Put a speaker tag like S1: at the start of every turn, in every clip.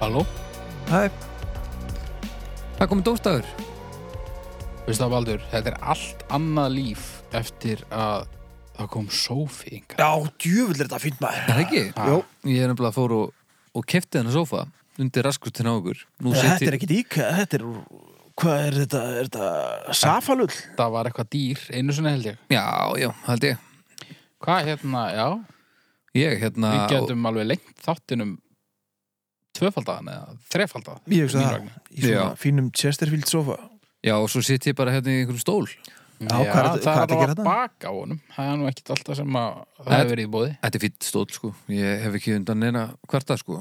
S1: Halló,
S2: Hæ,
S1: það komið dóstagur Veistu það Baldur, þetta er allt annað líf eftir að það kom Sophie yngar
S2: já, djúvill er þetta fínt maður
S1: Er það ekki?
S2: Jó.
S1: Ég er nefnilega að fór og, og kefti þennan sófa undir raskustin á okkur Nú
S2: Þetta er
S1: sit ég-
S2: ekkit ík, þetta er Hvað er þetta, er þetta safalull?
S3: það var eitthvað dýr einu sinni held ég
S1: Já, já, held ég
S3: hvað hérna, já,
S1: Ah, Ég hérna
S3: við getum alveg lengt þáttinum tvöfaldaðan eða þrefaldaðan
S2: Ég hugsa
S3: Mín
S2: það,
S3: vegna.
S2: í svona
S1: Já.
S2: fínum Chesterfield sofa
S1: Já, og svo sitt ég bara hérna í einhverjum stól
S2: Já, hvað er
S3: það er
S2: þetta- hvað er þetta að
S3: alveg
S2: gera
S3: að
S2: þarna?
S3: baka á honum það er nú ekkit alltaf sem að það
S1: Nei.
S3: hefur verið í bóði
S1: Þetta er fýtt stól, sko Ég hef ekki undan neina kvarta, sko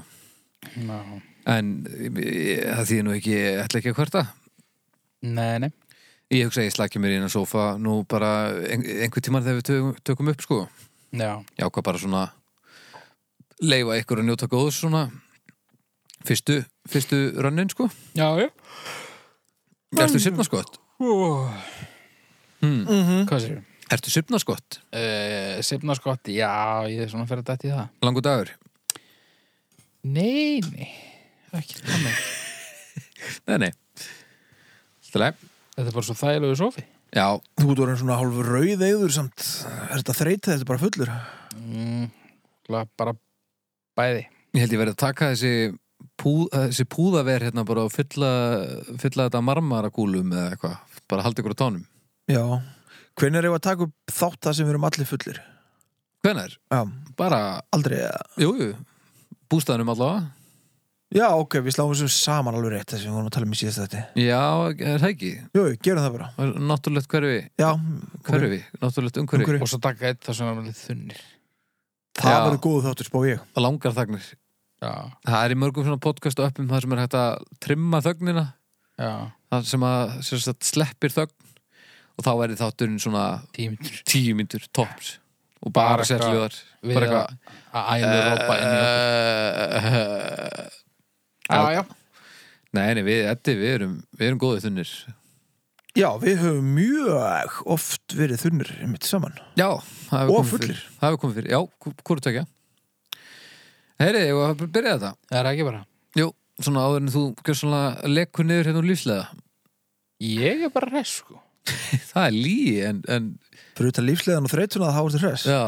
S3: Ná.
S1: En ég, það þýðir nú ekki, ég ætla ekki að kvarta
S3: nei, nei,
S1: Ég hugsa að ég slaki mér inn að sófa nú bara ein, einhver tímar þegar við tökum, tökum upp, sko
S3: já,
S1: ég ákvað bara svona leifa ykkur að njóta góðs svona fyrstu, fyrstu rönnin sko
S3: já, já
S1: Ertu sifnaskott? Hmm.
S3: hvað sér
S1: Ertu sifnaskott?
S3: uh, sifnarskotti, já, ég er svona fyrir að dætti í það
S1: Langu dagur?
S3: nei, nei, ekki þannig
S1: Nei, nei Stileg?
S3: þetta er bara svo þægilegu sofi
S1: Já,
S2: Þú ert orðin svona hálf rauð eður samt Er þetta þreytið, þetta er bara fullur
S3: mm, örugglega bara bæði
S1: ég held ég verið að taka þessi, pú, þessi púðaver hérna bara og fylla, fylla þetta marmarakúlum eða eitthvað bara halda ykkur á tánum
S2: Já Hvenær er að taka upp þátt það sem við erum allir fullir?
S1: Hvenær?
S2: Já,
S1: Bara,
S2: aldrei eða
S1: jú, jú bústæðanum allavega
S2: Já, ok, við sláum þessu saman alveg rétt þess að við vorum að tala um í síðast þetta
S1: Já, er það ekki?
S2: Jú, jú, gerum það bara
S1: Náttúrulegt hverfi,
S2: Já, ok.
S1: hverfi, náttúrulegt umhverfi
S2: Umhverfi.
S3: og svo taka eitt þar sem er alveg þunnir
S2: það
S1: Já.
S2: verður góð þáttur, spá ég
S1: og langar þagnir
S3: já,
S1: Það er í mörgum svona podcast og uppum það sem er hægt að trimma þögnina
S3: já,
S1: það sem að sem sagt, sleppir þögn og þá er þátturinn svona
S3: tímindur
S1: tíu myndur tops og
S3: Bara
S1: bara
S3: eitthvað Eh,
S1: sérljóðar
S3: við
S1: bara eitthvað
S3: að ælu
S1: eh,
S3: rópa inn í okkur
S1: uh,
S3: já, já,
S1: Nei, nei, við, eddi, við erum við erum góðið þunnir
S2: Já, við höfum mjög oft verið þunnir mitt saman
S1: Já, það hefur
S2: Og
S1: komið
S2: fullir.
S1: fyrir Það hefur komið fyrir, já, hvort tökja Heyri, ég var að byrja þetta
S3: það er ekki bara
S1: Jú, svona áður en þú gjör svona lekku niður hérna úr lífslega
S3: ég er bara hress sko
S1: Það er líi, en, en
S2: Fyrir utan lífsleðan og þreytuna þá er þetta hress
S1: já,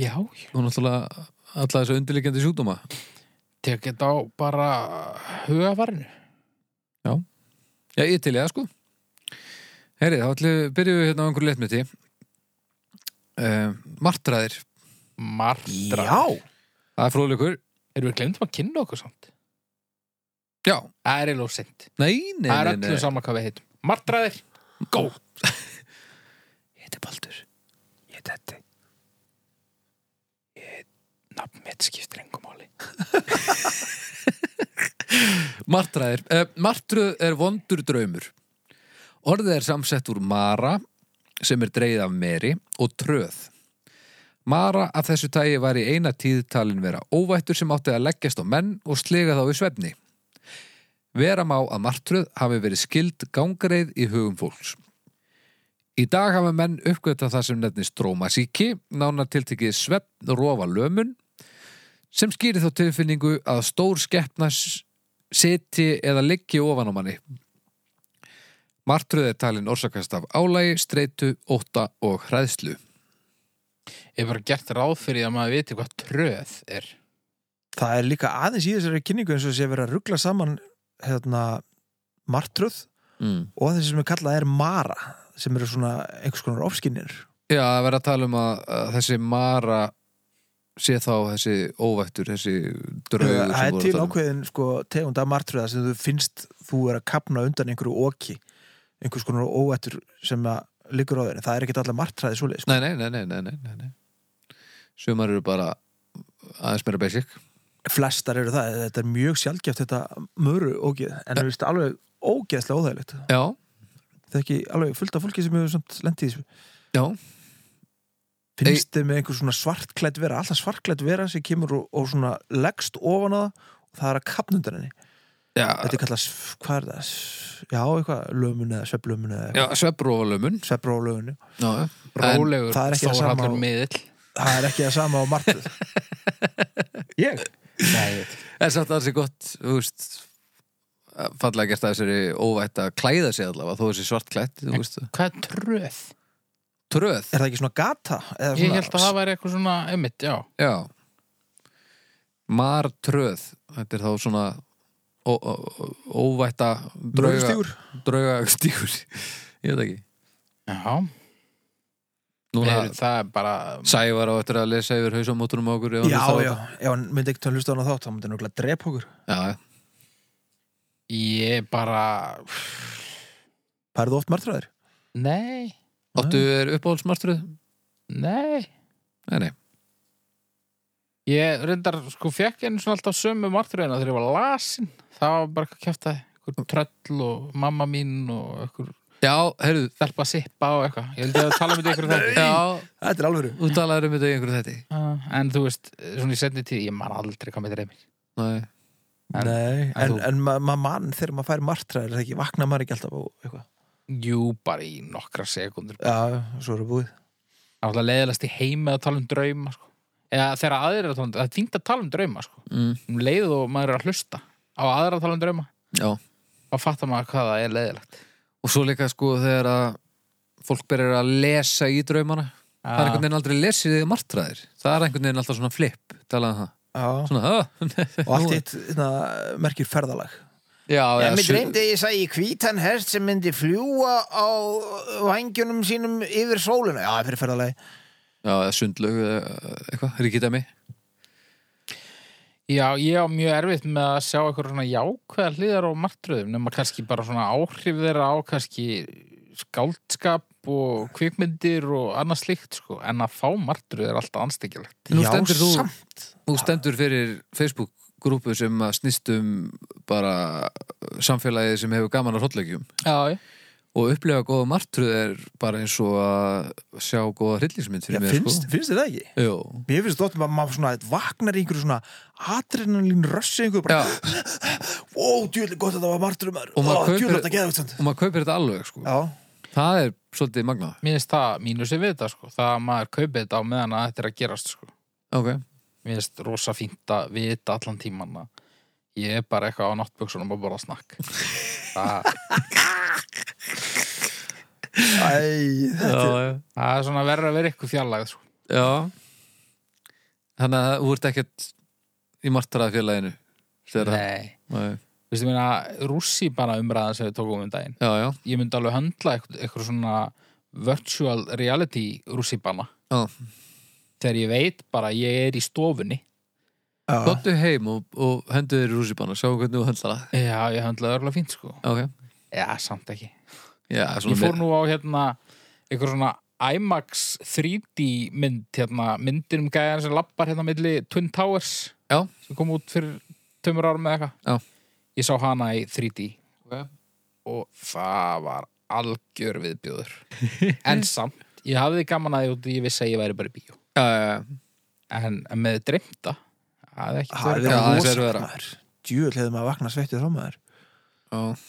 S3: já, ég
S1: og náttúrulega alla þessu undirliggjandi sjúkdóma
S3: tek þetta á bara hugavarinu
S1: Já, ég til ég það sko Herri, þá ætlum við byrjum við hérna á einhverju letmeti uh, Martræðir
S3: margdra
S2: Já,
S1: Það er fróðleikur
S3: erum við glemtum að kynna okkur samt
S1: Já,
S3: það er eiginlega sent
S1: nei, nei,
S3: það er
S1: nei, nei.
S3: öllu saman hvað við heitum margdraðir, go
S1: Ég heiti Baldur
S3: ég þetta ég nafn mitt skiptir engum áli
S1: Martræðir uh, Martröð er vondur draumur Orðið er samsett úr Mara sem er dreigð af Meri og Tröð Mara af þessu tægi var í eina tíðtalin vera óvættur sem átti að leggjast á menn og slega þá í svefni. Vera má að martröð hafi verið skild gangreið í hugum fólks. Í dag hafa menn uppgötta það sem nefnist drómasíki, nánar tiltekið svefn rofa lömun, sem skýri þá tilfinningu að stór skeppna s- sitji eða liggi ofan á manni. Martröð er talin orsakast af álægi, streitu, ótta og hræðslu.
S3: ég hef bara gert ráð fyrir að maður viti hvað tröð er
S2: það er líka aðeins í þessari kynningu eins og sé verið að ruggla saman hérna, martröð
S1: Mm.
S2: og þessi sem er kallað er mara sem eru svona einhvers konar ofskinnir
S1: Já, að vera að tala um að, að þessi Mara sé þá þessi óvættur, þessi draugur sem
S2: það er
S1: voru að
S2: til
S1: tala um.
S2: ákveðin sko, tegund af martröða sem þú finnst þú er að kapna undan einhverju oki einhvers konar óættur sem að liggur á þeirni, það er ekkert allar martræði svoleið sko.
S1: Nei, nei, nei, nei, nei, nei, nei, nei. Sumar eru bara aðeins meira basic
S2: flestar eru það, þetta er mjög sjálfgeft þetta möru ógið, en þú veist alveg ógeðslega óþægilegt,
S1: Já,
S2: það er ekki alveg fullt af fólki sem hefur samt lendið í þessu
S1: já,
S2: finnst þið með einhver svona svartklætt vera alltaf svartklætt vera sem kemur og, og svona leggst ofan á það og það er að kapna undan henni
S1: já,
S2: þetta er kallað, s- hvað er það S- já, eitthvað, lömun eða sveflömun eða
S1: já svefbrófalömun
S2: svefra á lögun
S1: Já, já. En-
S3: rólegur,
S2: það er ekki það sama
S3: Þórhallur
S2: og-
S3: miðill
S2: það er ekki það sama á margt ég?
S3: Nei, ég veit.
S1: En samt að það sé gott, þú veist fallega gert að þessari óvætt að klæða sig allavega, þó þessi svart klætt þú veist,
S3: Hvað er tröð?
S1: tröð,
S2: Er það ekki svona gata? Eða
S3: Ég
S2: svona-
S3: held að það væri eitthvað svona einmitt, já.
S1: já martröð þetta er þá svona ó- ó- ó- óvætta drauga,
S2: Draugastígur?
S1: drauga stígur ég veit ekki
S3: Já,
S1: Núna,
S3: Heyrðu, það er bara
S1: Sævar á eftir að lesa yfir hausamóturum á okkur ef hann
S2: Já,
S1: hlustar á
S2: já,
S1: þetta.
S2: ef hann myndi ekkert að hlusta á hana þátt þá myndi hann okkur að drepa okkur
S1: já,
S3: Ég bara
S2: Pærðu oft martraðir?
S3: Nei,
S1: Áttu er uppáhaldsmartröð?
S3: nei
S1: Nei, nei,
S3: Ég reyndar, sko, fekk einu svona alltaf sömu martröðina þegar ég var lasin Það var bara eitthvað kjæft að eitthvað tröll og mamma mín og eitthvað
S1: já, heyrðu
S3: stelpa sippa og eitthvað Ég held ég að tala um þetta ykkur þetta
S1: Já,
S2: Þetta er alvöru
S1: þú talaður um þetta í einhverju þetta
S3: En þú veist, svona í setni tíð, ég man aldrei hvað með dreymir
S1: Nei,
S3: En-
S2: Nei,
S3: en
S2: en,
S3: þú-
S2: en maður ma mann þegar maður fær martraðir er það ekki, vakna maður ekki alltaf og eitthvað
S3: Jú, bara í nokkra sekundur
S2: Já, svo er það búið
S3: Það er alltaf leiðilegast í heimi að tala um drauma sko. eða þegar aðrir eru að tala um það er fínt að tala um drauma sko.
S1: mm,
S3: um leið og maður er að hlusta á aðra að tala um drauma
S1: já
S3: þá fattar maður hvað það er leiðilegt
S1: Og svo líka sko þegar að fólk berir að lesa í draumana Það er einhvern veginn aldrei lesið í martraðir Það er einhvern veginn alltaf svona flip talaði um það
S2: Já,
S1: Svona, "Ah,
S2: og allt eitt hérna, merkir ferðalag
S1: já, já,
S2: En mér
S1: su-
S2: dreymdi að ég sæði hvítan hest sem myndi fljúa á vangjunum sínum yfir sóluna. Já, fyrir ferðalagi.
S1: Já, eða sundlaug eða eitthvað, ríkidæmi
S3: Já, ég á mjög erfitt með að sjá eitthvað svona jákvæða hliðar á martröðum nema kannski bara svona áhrif þeirra á kannski skáldskap og kvikmyndir og annað slíkt sko. en að fá martröð er alltaf anstengilegt
S1: Nú
S2: Já,
S1: stendur þú-
S2: samt.
S1: Þú stendur fyrir Facebook-grúpu sem að snýst um bara samfélagið sem hefur gaman að hrottleikjum
S3: Já,
S1: og upplifa góða martröð er bara eins og að sjá góða hryllingsmynd
S2: Já,
S1: fyrir mér
S2: finnst, finnst þið það ekki?
S1: sko Jú,
S2: Mér finnst þóttum að maður svona vaknar í einhverju svona adrenalín rössi einhverju bara,
S1: já
S2: ó, djúlega gott að það var marturum maður, ó,
S1: Og maður kaupir-
S2: djúlega þetta geða þetta.
S1: og maður kaupir þetta alveg sko
S2: Já,
S1: það er svolítið magnað
S3: mér finnst það mínusi við þetta sko. það að maður kaupið þetta á meðan að þetta er að gerast sko.
S1: okay.
S3: mér finnst rosa fínt að vita allan tíman að ég er bara eitthvað á náttböksunum að borða snakk það,
S2: æ, þetta er,
S1: já,
S3: það er svona verður að vera eitthvað fjarlægð sko.
S1: já þannig að þú ert ekkert í martraðafélaginu þegar
S3: nei,
S1: það
S3: veistu mér að rússi bara umræðan sem við tókum um daginn
S1: já, já,
S3: ég myndi alveg höndla eitthvað, eitthvað svona virtual reality rússi banna
S1: Já.
S3: þegar ég veit bara að ég er í stofunni
S2: já,
S1: gottu heim og, og hendu þér í rússipanna, sjáum hvernig þú höndla það
S3: já, ég höndlaði örgulega fínt sko
S1: ok,
S3: já, samt ekki
S1: já,
S3: Ég
S1: svona
S3: fór nú á hérna eitthvað svona IMAX 3D mynd hérna, myndir um gæðan sem lappar hérna milli Twin Towers
S1: Já.
S3: sem kom út fyrir tömur árum eða
S1: Já.
S3: eitthvað Ég sá hana í 3D
S1: Ok.
S3: og það var algjör viðbjóður en samt, ég hafði gaman að því út í ég vissi að ég væri bara í bíó
S1: já, já, já, en,
S3: en en með dreymta það er ekki
S2: það er
S1: Já,
S2: verið
S1: aðeins
S2: rosa
S1: verður vera.
S2: maður. Djúlega hefði maður vaknað svettið frá maður.
S1: já,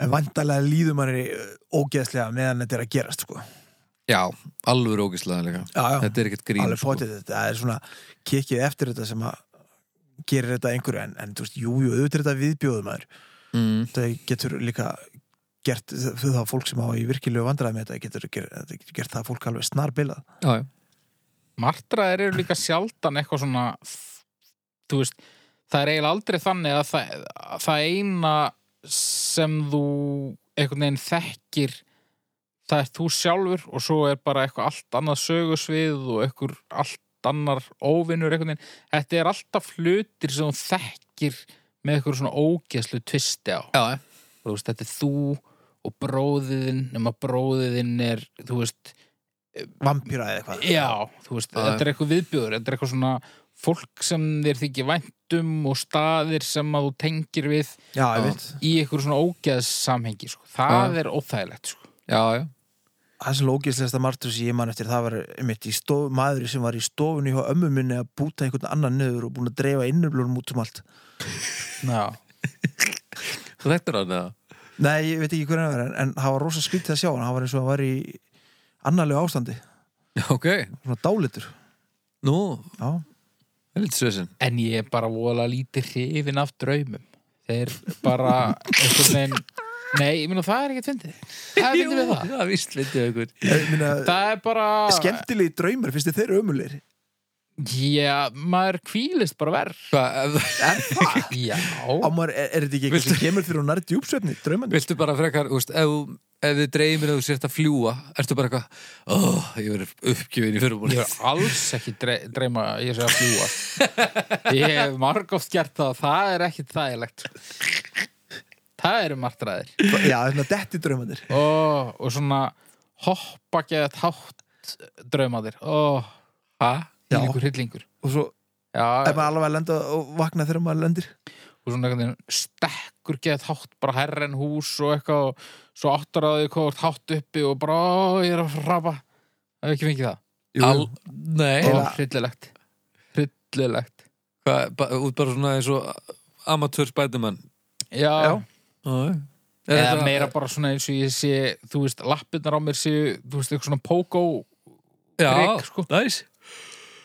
S2: En vandalega líður maður í- eh, ógeðslega meðan þetta er að gerast, sko.
S1: já alveg rókislega líka
S2: Já, já.
S1: þetta er ekkert grín sko.
S2: alveg potið þetta, það er svona kikið eftir þetta sem að gerir þetta einhverju en, en þú veist, jú, jú, auðvitað er þetta viðbjóðum maður
S1: mm,
S2: það getur líka gert þau það fólk sem á í virkilegu vandræði með þetta getur, ger, þetta getur gert það fólk alveg snarbilað
S1: já, já,
S3: Martraðir eru líka sjaldan eitthvað svona þú veist, það er eiginlega aldrei þannig að það, að það eina sem þú einhvern veginn þekkir það er þú sjálfur og svo er bara eitthvað allt annað sögusvið og eitthvað allt annar óvinnur einhvern veginn, þetta er alltaf hlutir sem þú þekkir með eitthvað svona ógeðslu tvisti á
S1: já, já,
S3: þú veist, þetta er þú og bróðiðinn, nema bróðiðinn er, þú veist,
S2: vampýra eða eitthvað
S3: Já, þú veist,
S1: Já,
S3: þetta er eitthvað viðbjöður þetta er eitthvað svona fólk sem þér þykir væntum og staðir sem að þú tengir við
S2: já, ég veit,
S3: í eitthvað svona ógeðs samhengi sko. það er óþægilegt sko.
S1: já, já.
S2: það sem lókislegasta martur sem ég man eftir, það var einmitt í stof, maður sem var í stofunni hjá ömmu minni að búta einhvern annan niður og búin að dreifa innurblónum út um allt
S3: Já,
S1: þetta er hann eða
S2: nei, ég veit ekki hvernig það var en, en það var rosa skrítið að sjá hann, hann var eins og hann var í annarlegu ástandi,
S1: Já, ok,
S2: svona dálitur
S1: nú,
S2: já,
S1: Helvítið svesen.
S3: En ég er bara vola lítið hrifin af draumum. Þeir bara einhvern veginn... Nei, ég meina það er ekkert fyndið. Það er fyndið við um það.
S1: Já, víst, veitum við ykkur.
S2: Ég meina,
S3: Það er bara...
S2: skemmtilegi draumar, finnst þið þeir ömulir?
S3: Já, maður kvílist bara verð.
S1: Hvað, ef-
S3: Já.
S2: Á maður, er, er þetta ekki eitthvað
S1: Viltu-
S2: sem kemur fyrir hún nær djúpsvefni, draumandi?
S1: viltu bara frekar, úst, ef, þú- ef þið dreymir að þú sért að fljúa, ertu bara eitthvað, ó, ég verður uppgjöfin í fyrirbúinu.
S3: Ég er alls ekki dre dreyma ég sé að fljúa. Ég hef margóft gert það og það er ekkit þægilegt. Það eru martræðir.
S2: Já, þannig að detti draumandir.
S3: Ó, og svona hoppa geða tátt draumaðir. Ó,
S1: Hæ?
S2: Já.
S3: hýlingur, hýlingur.
S2: Og svo
S3: Já,
S2: er maður alveg að lenda og vakna þegar maður lendir.
S3: og svona einhvern veginn stekkur gett hátt bara herra en hús og eitthvað og svo áttar að þið komur hátt uppi og bara ó, ég er að rapa það er ekki fengið það
S2: Jú,
S1: Al,
S2: jú.
S1: nei,
S3: Ó,
S2: Eða-
S3: hryllilegt hryllilegt
S1: hvað, ba, út bara svona eins og amatör spædumann.
S3: já,
S2: Já.
S1: Já, já.
S3: eða meira bara svona eins og ég sé þú veist, lappirnar á mér séu þú veist, eitthvað svona pogo
S1: Já,
S3: drykk, sko.
S1: næs.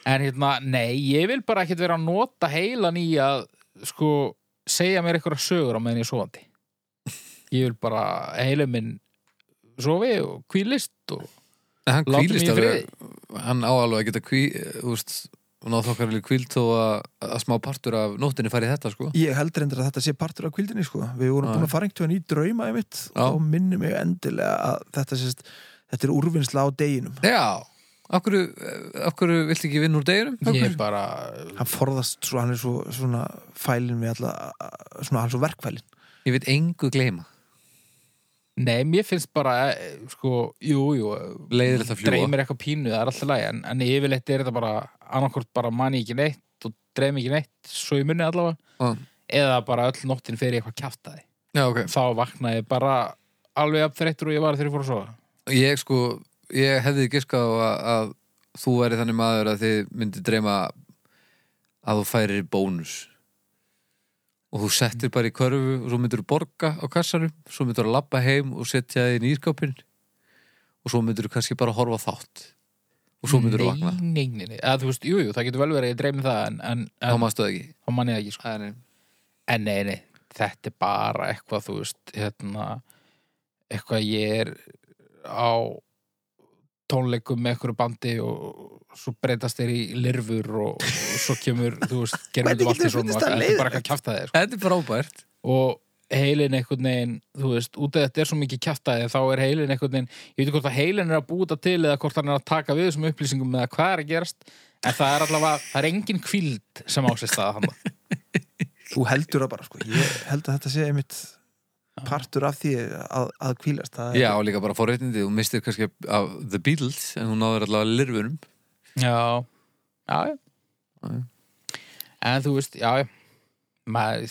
S3: en hérna, nei, ég vil bara ekkert vera að nota heilan í að sko, segja mér eitthvað sögur á meðan ég er sofandi ég vil bara heilum minn sofi og kvílist og
S1: En hann
S3: Látum
S1: kvílist
S3: í
S1: alveg, hann á alveg að geta kví, úst, ná þokkar alveg kvíld þó að, að smá partur af nóttinni fari í þetta, sko.
S2: Ég held reyndar að þetta sé partur af kvildinni sko. Við vorum
S1: Já.
S2: búin að fara einhvern veginn í drauma einmitt
S1: Já.
S2: og minni mig endilega að þetta sést þetta er úrvinnsla á deginum.
S1: Já, af hverju, af hverju viltu ekki vinna úr deginum? Af
S3: ég
S1: hverju?
S3: bara
S2: Hann forðast svo, hann er svo svona fælin við alla, svona hann er svo verkfælin.
S1: Ég veit engu gleyma.
S3: Nei, mér finnst bara, eh, sko, jú, jú
S1: Leiðilegt að fljúga.
S3: Dreymir eitthvað pínu, það er alltaf læg en, en yfirleitt er þetta bara, annarkvort bara manni ekki neitt og dreymi ekki neitt svo í munni allavega,
S1: Ah.
S3: eða bara öll nóttin fyrir eitthvað kjaftaði
S1: Já, ok.
S3: Þá vakna ég bara alveg upp þreyttur og ég var þegar ég fór að sofa
S1: Ég sko, ég hefði giskað á að, að þú væri þannig maður að þið myndi dreyma að þú færir bónus og þú settir bara í körfu og svo myndir þú borga á kassanum svo myndir þú labba heim og setja þið inn í ískápinn og svo myndir þú kannski bara horfa á þátt og svo myndir þú vakna
S3: Nei, nei, nei, nei, eða þú veist, jú, jú, það getur vel verið að ég dreymi það en, en,
S1: þá
S3: en
S1: mástu það ekki
S3: þá manni ég það ekki, sko
S1: Æ,
S3: En nei, nei, þetta er bara eitthvað, þú veist, hérna, eitthvað ég er á tónleikum með einhverju bandi og svo breytast þeir í lirfur og, og svo kemur, þú veist, gerum
S2: Hvernig
S3: við allt í
S2: getur
S3: svona
S2: fundist
S3: og þetta
S2: það
S3: er bara
S2: leiðinlegt?
S3: eitthvað kjaftaði, sko.
S1: Þetta er frábært
S3: Og heilin einhvern veginn, þú veist, út af þetta er svo mikið kjaftaði, þá er heilin einhvern veginn, ég veit ekki hvort að heilin er að búta til eða hvort hann er að taka við þessum upplýsingum eða hvað er að gerast, en það er allavega, það er engin kvíld sem ásist að hann.
S2: Þú heldur það bara sko. Ég held að þetta sé einmitt partur af því að, að kvílast. Það er-
S1: Já, og líka bara forréttindi, þú mistir kannski af The Beatles en þú náður allavega lirfunum
S3: Já, já, já.
S1: Já.
S3: En þú veist, já, já. maður,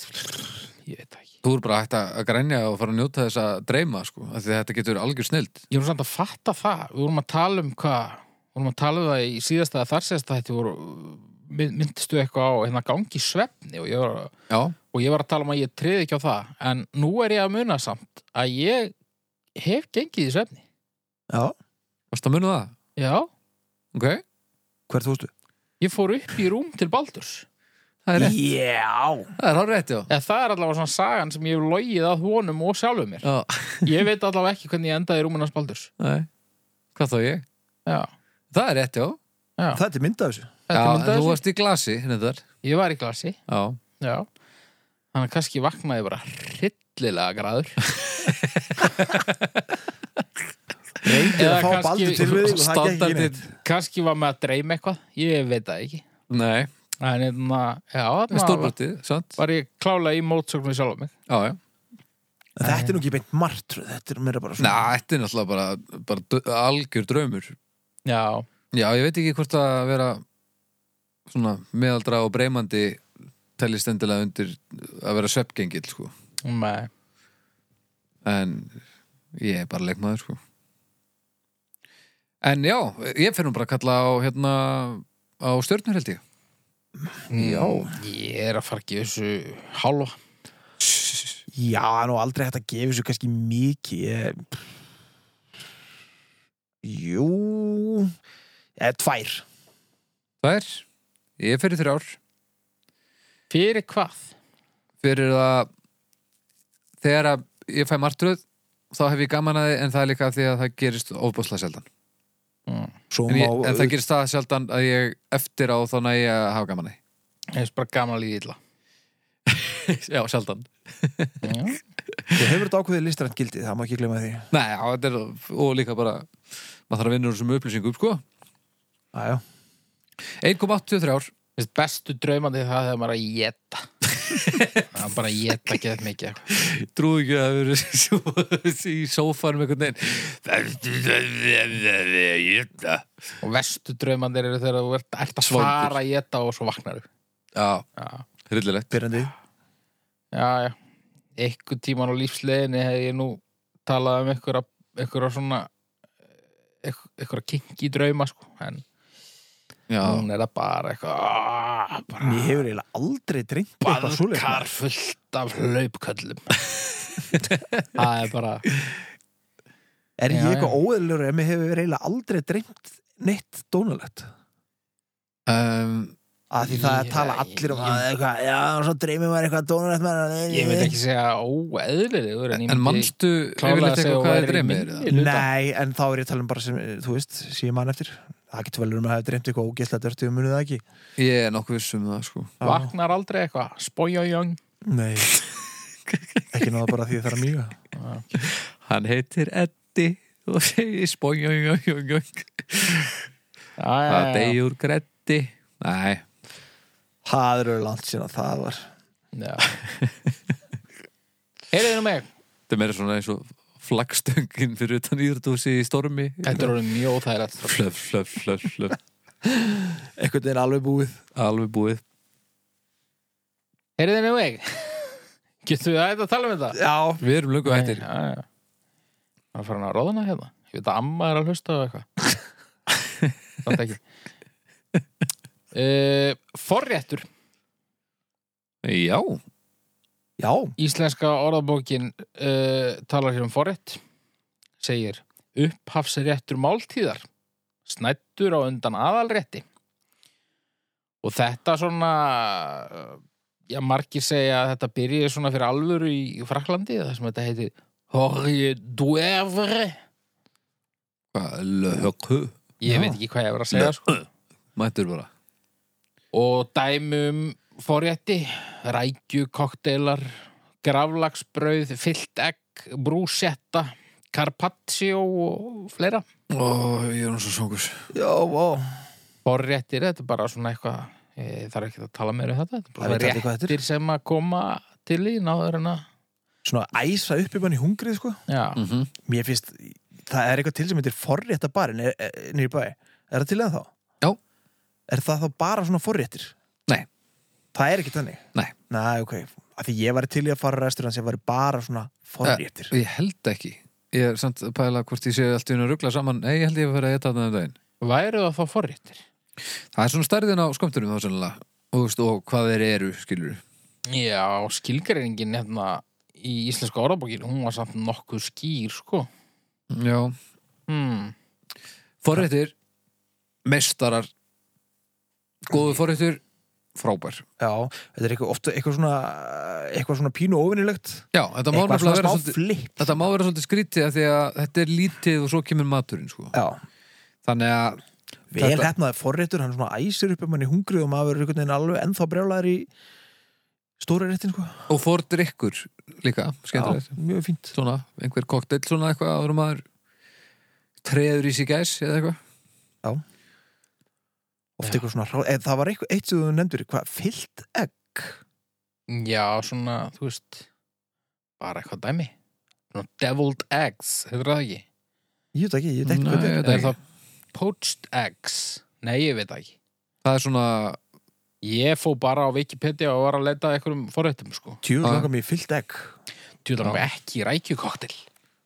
S3: ég veit það ekki.
S1: Þú er bara hægt að að grænja og fara að njóta þess að dreyma sko, af því að þetta getur algjör snild
S3: Ég voru samt að fatta það, við vorum að tala um hvað, við vorum að tala um það í síðasta eða þar síðasta þetta voru, mynd- myndstu eitthvað á hérna gangi í svefni og ég, var,
S1: Já,
S3: og ég var að tala um að ég treði ekki á það, en nú er ég að muna samt að ég hef gengið í svefni.
S2: Já.
S1: varst að muna það?
S3: Já,
S1: Ok,
S2: Hvert fórstu?
S3: ég fór upp í rúm til Baldurs.
S1: það er rétt,
S2: Já.
S1: það er hár rétt já
S3: Eða það er allavega svona sagan sem ég hef logið að honum og sjálfum mér.
S1: Já,
S3: Ég veit allavega ekki hvernig ég endaði í rúmunans Baldurs.
S1: nei, hvað þá ég?
S3: Já.
S1: Það er rétt já Já,
S2: Það er myndað þessu.
S3: Þetta
S1: en
S3: myndaði
S1: þú
S3: sig.
S1: varst í glasi hérna þar
S3: Ég var í glasi,
S1: Já,
S3: já. Þannig að kannski vaknaði ég bara hryllilega græður.
S2: Reyndir
S3: Eða
S2: að fá
S3: kannski-
S2: baldur til við og það gekk ekki neitt.
S1: standardin
S3: kannski var með að dreyma eitthvað, ég veit það ekki.
S1: Nei,
S3: En hérna, já, þarna var-
S1: stórbrotið, sant?
S3: var ég klála í mótsögn við sjálf mig.
S1: Já, já
S2: En Þetta er nú ekki beint martruð, þetta er meira bara svona
S1: Næ, þetta er náttúrulega bara, bara dö- algjör draumur
S3: Já,
S1: Já, ég veit ekki hvort að vera svona meðaldra og breymandi telist endilega undir að vera sveppgengil, sko.
S3: með,
S1: En ég er bara leikmaður, sko. En já, ég fer nú bara að kalla á hérna á stjörnur held ég.
S3: já, ég er að fara ekki þessu hálfa.
S2: Já, nú aldrei hægt að gefa þessu kannski mikið ég... Jú Eða tvær
S1: Það er, ég fer í þrjár.
S3: Fyrir hvað?
S1: fyrir að þegar að ég fæ martröð þá hef ég gaman að þið en það er líka af því að það gerist ofbúslega sjaldan
S3: Mm.
S2: Svo
S1: en,
S2: má,
S1: ég, en það gerist það sjaldan að ég eftir á þá næ ég að hafa gaman að
S3: Ég finnst bara gaman að líða illa.
S1: því já, sjaldan
S3: Já.
S2: Þú hefur þetta ákveðið listrænt gildið, það má ekki glemma því
S1: Nei, já, þetta er, og líka bara maður þarf að vinna úr þessum upplýsingum, sko
S2: Æjá,
S1: 1,83 ár
S3: Mér finnst bestu draumandi það þegar maður er að geta. það er bara að geta geðt mikið. sko.
S1: trúi ekki að það verið í sófanum einhvern veginn já,
S3: Og vestu draumandir eru þegar þú ert, ert að
S1: Svangur.
S3: fara að geta og svo vaknar þú. Já,
S1: hryllilegt
S2: byrjandi
S3: já, já. Ekkur tíman á lífsleginni hef ég nú talað um einhverja, einhverja svona eh, einhverja kinki drauma, sko. En
S1: já,
S3: hún er það bara eitthvað, aah, bara
S2: Ég hefur eiginlega aldrei drengt eitthvað svoleiðis.
S3: baðkar fullt af hlaupköllum. það er bara...
S2: Er ég
S3: Já,
S2: eitthvað óeðlur ef mér hefur eiginlega aldrei drengt neitt dónalegt?
S1: um,
S2: Að því það er að tala
S3: Ég-
S2: allir um
S3: ég-
S2: að eitthvað, já, og svo dreymir maður eitthvað dónalegt með hann.
S3: Ég veit ekki segja óeðlilegur En,
S1: en mannstu
S3: klálega
S1: yfirleitt
S3: að segja
S1: eitthvað
S3: og
S1: hvað
S3: væri
S1: þið dreymir eða?
S3: minni hluta
S2: Nei, en þá er ég að tala um bara sem, eh, þú veist, síðan mann eftir. Það getur vel verið um að hafa dreymt eitthvað ógeðslega dörtu um munið það ekki.
S1: ég er nokkuð viss um það, sko
S2: Já.
S3: Vaknar aldrei eitthvað, spójajöng
S2: Nei, ekki náða bara því það er að mýga.
S1: hann heitir Eddi og segir spóngjöngjöngjöng það degi úr gretti nei,
S2: Það eru langt síðan að það var.
S3: Heyrðu nú mig
S1: þetta er meira svona eins og flagstöngin fyrir utan íðrutúsi í stormi
S3: Þetta er orðið mjög óþægilegt
S1: flöf, flöf, flöf, flöf
S2: Einhvern veginn alveg búið.
S1: alveg búið
S3: Heyrðu nú mig Getum við aðeins að tala um þetta?
S2: Já,
S1: við erum löngu hættir
S3: Já, já. Það er farin að róðna hérna Ég veit að amma er að hlusta á eitthvað Þetta ekki uh, Forréttur
S1: já,
S2: já,
S3: Íslenska orðabókin uh, talar hér um forrétt segir upphafsréttur máltíðar snættur á undan aðalrétti og þetta svona eh, já margir segja að þetta byrjaði svona fyrir alvöru í í Fraklandi það sem þetta heitir Horje Duevre
S1: löhöku
S3: ég
S2: Já.
S3: veit ekki hvað ég var að segja sko.
S1: mættur bara
S3: og dæmum forrétti rækju, kokteilar gravlagsbrauð, fyllt egg brúsetta, carpaccio og fleira
S1: Ó, ég er hann svo svongus
S2: já, ó,
S3: forréttir, þetta er bara svona eitthvað ég þarf ekki að tala meira um þetta þetta er
S2: Það
S3: bara
S2: veit allir hvað
S3: svona
S2: þetta er.
S3: réttir sem að koma til í náður en að
S2: svona æsa upp í mann í hungrið, sko.
S3: já,
S1: mm -hmm.
S2: Mér finnst, það er eitthvað til sem heitir forréttabarinn nýri bæ. Er það til eða þá?
S1: Já.
S2: Er það þá bara svona forréttir?
S1: Nei.
S2: Það er ekki þannig?
S1: Nei.
S2: Nei, ok. Af því ég var til í að fara restur hans, ég var bara svona forréttir.
S1: ég held ekki ég er samt að pæla hvort ég sé allt í unna ruggla saman nei, ég held ég að vera að geta þannig daginn
S3: væru það þá forréttir
S1: það er svona stærðin á skömmtunum þá sennilega og, þú veist, og hvað þeir eru, skilur
S3: já, skilgreiringin hérna í íslenska orðabókin, hún var samt nokkuð skýr sko
S1: já,
S3: hmm.
S1: forréttir meistarar góðu forréttur, frábær
S2: Já, þetta er eitthvað, oft, eitthvað svona eitthvað svona pínu óvinnilegt
S1: já, þetta má
S2: eitthvað
S1: nefnilega
S2: svona
S1: vera
S2: smá
S1: svolítið
S2: flip
S1: þetta má vera svolítið skrítið af því að þetta er lítið og svo kemur maturinn sko.
S2: Já,
S1: þannig að
S2: vel
S1: Þetta-
S2: hefnaði forréttur, hann svona æsir upp um hann í hungrið og maður verður einhvern veginn alveg ennþá brjálæður í stóra réttin sko
S1: og fordrykkur líka, skemmtilegt
S2: Já, Mjög fínt
S1: svona, einhver koktel svona eitthvað áður en maður treður í sig gæs eða eitthvað
S2: Oft
S3: Já.
S2: eitthvað svona hrá, eða, það var eitthvað eitt sem þú nefndur, hvað, fyllt egg
S3: já, svona, þú veist bara eitthvað dæmi svona deviled eggs, heitir það ekki
S2: Ég veit ekki, ég veit ekki
S1: Nei,
S2: hvað þetta
S1: ég veit
S2: er
S3: það
S1: ekki.
S3: er það poached eggs nei, ég veit það ekki
S1: það er svona,
S3: ég fó bara á Wikipedia og var að leita að einhverjum forréttum sko
S2: Tjúl
S1: Ah.
S2: langar mér í fyllt egg
S3: Tjóðan var ekki í rækjukoktel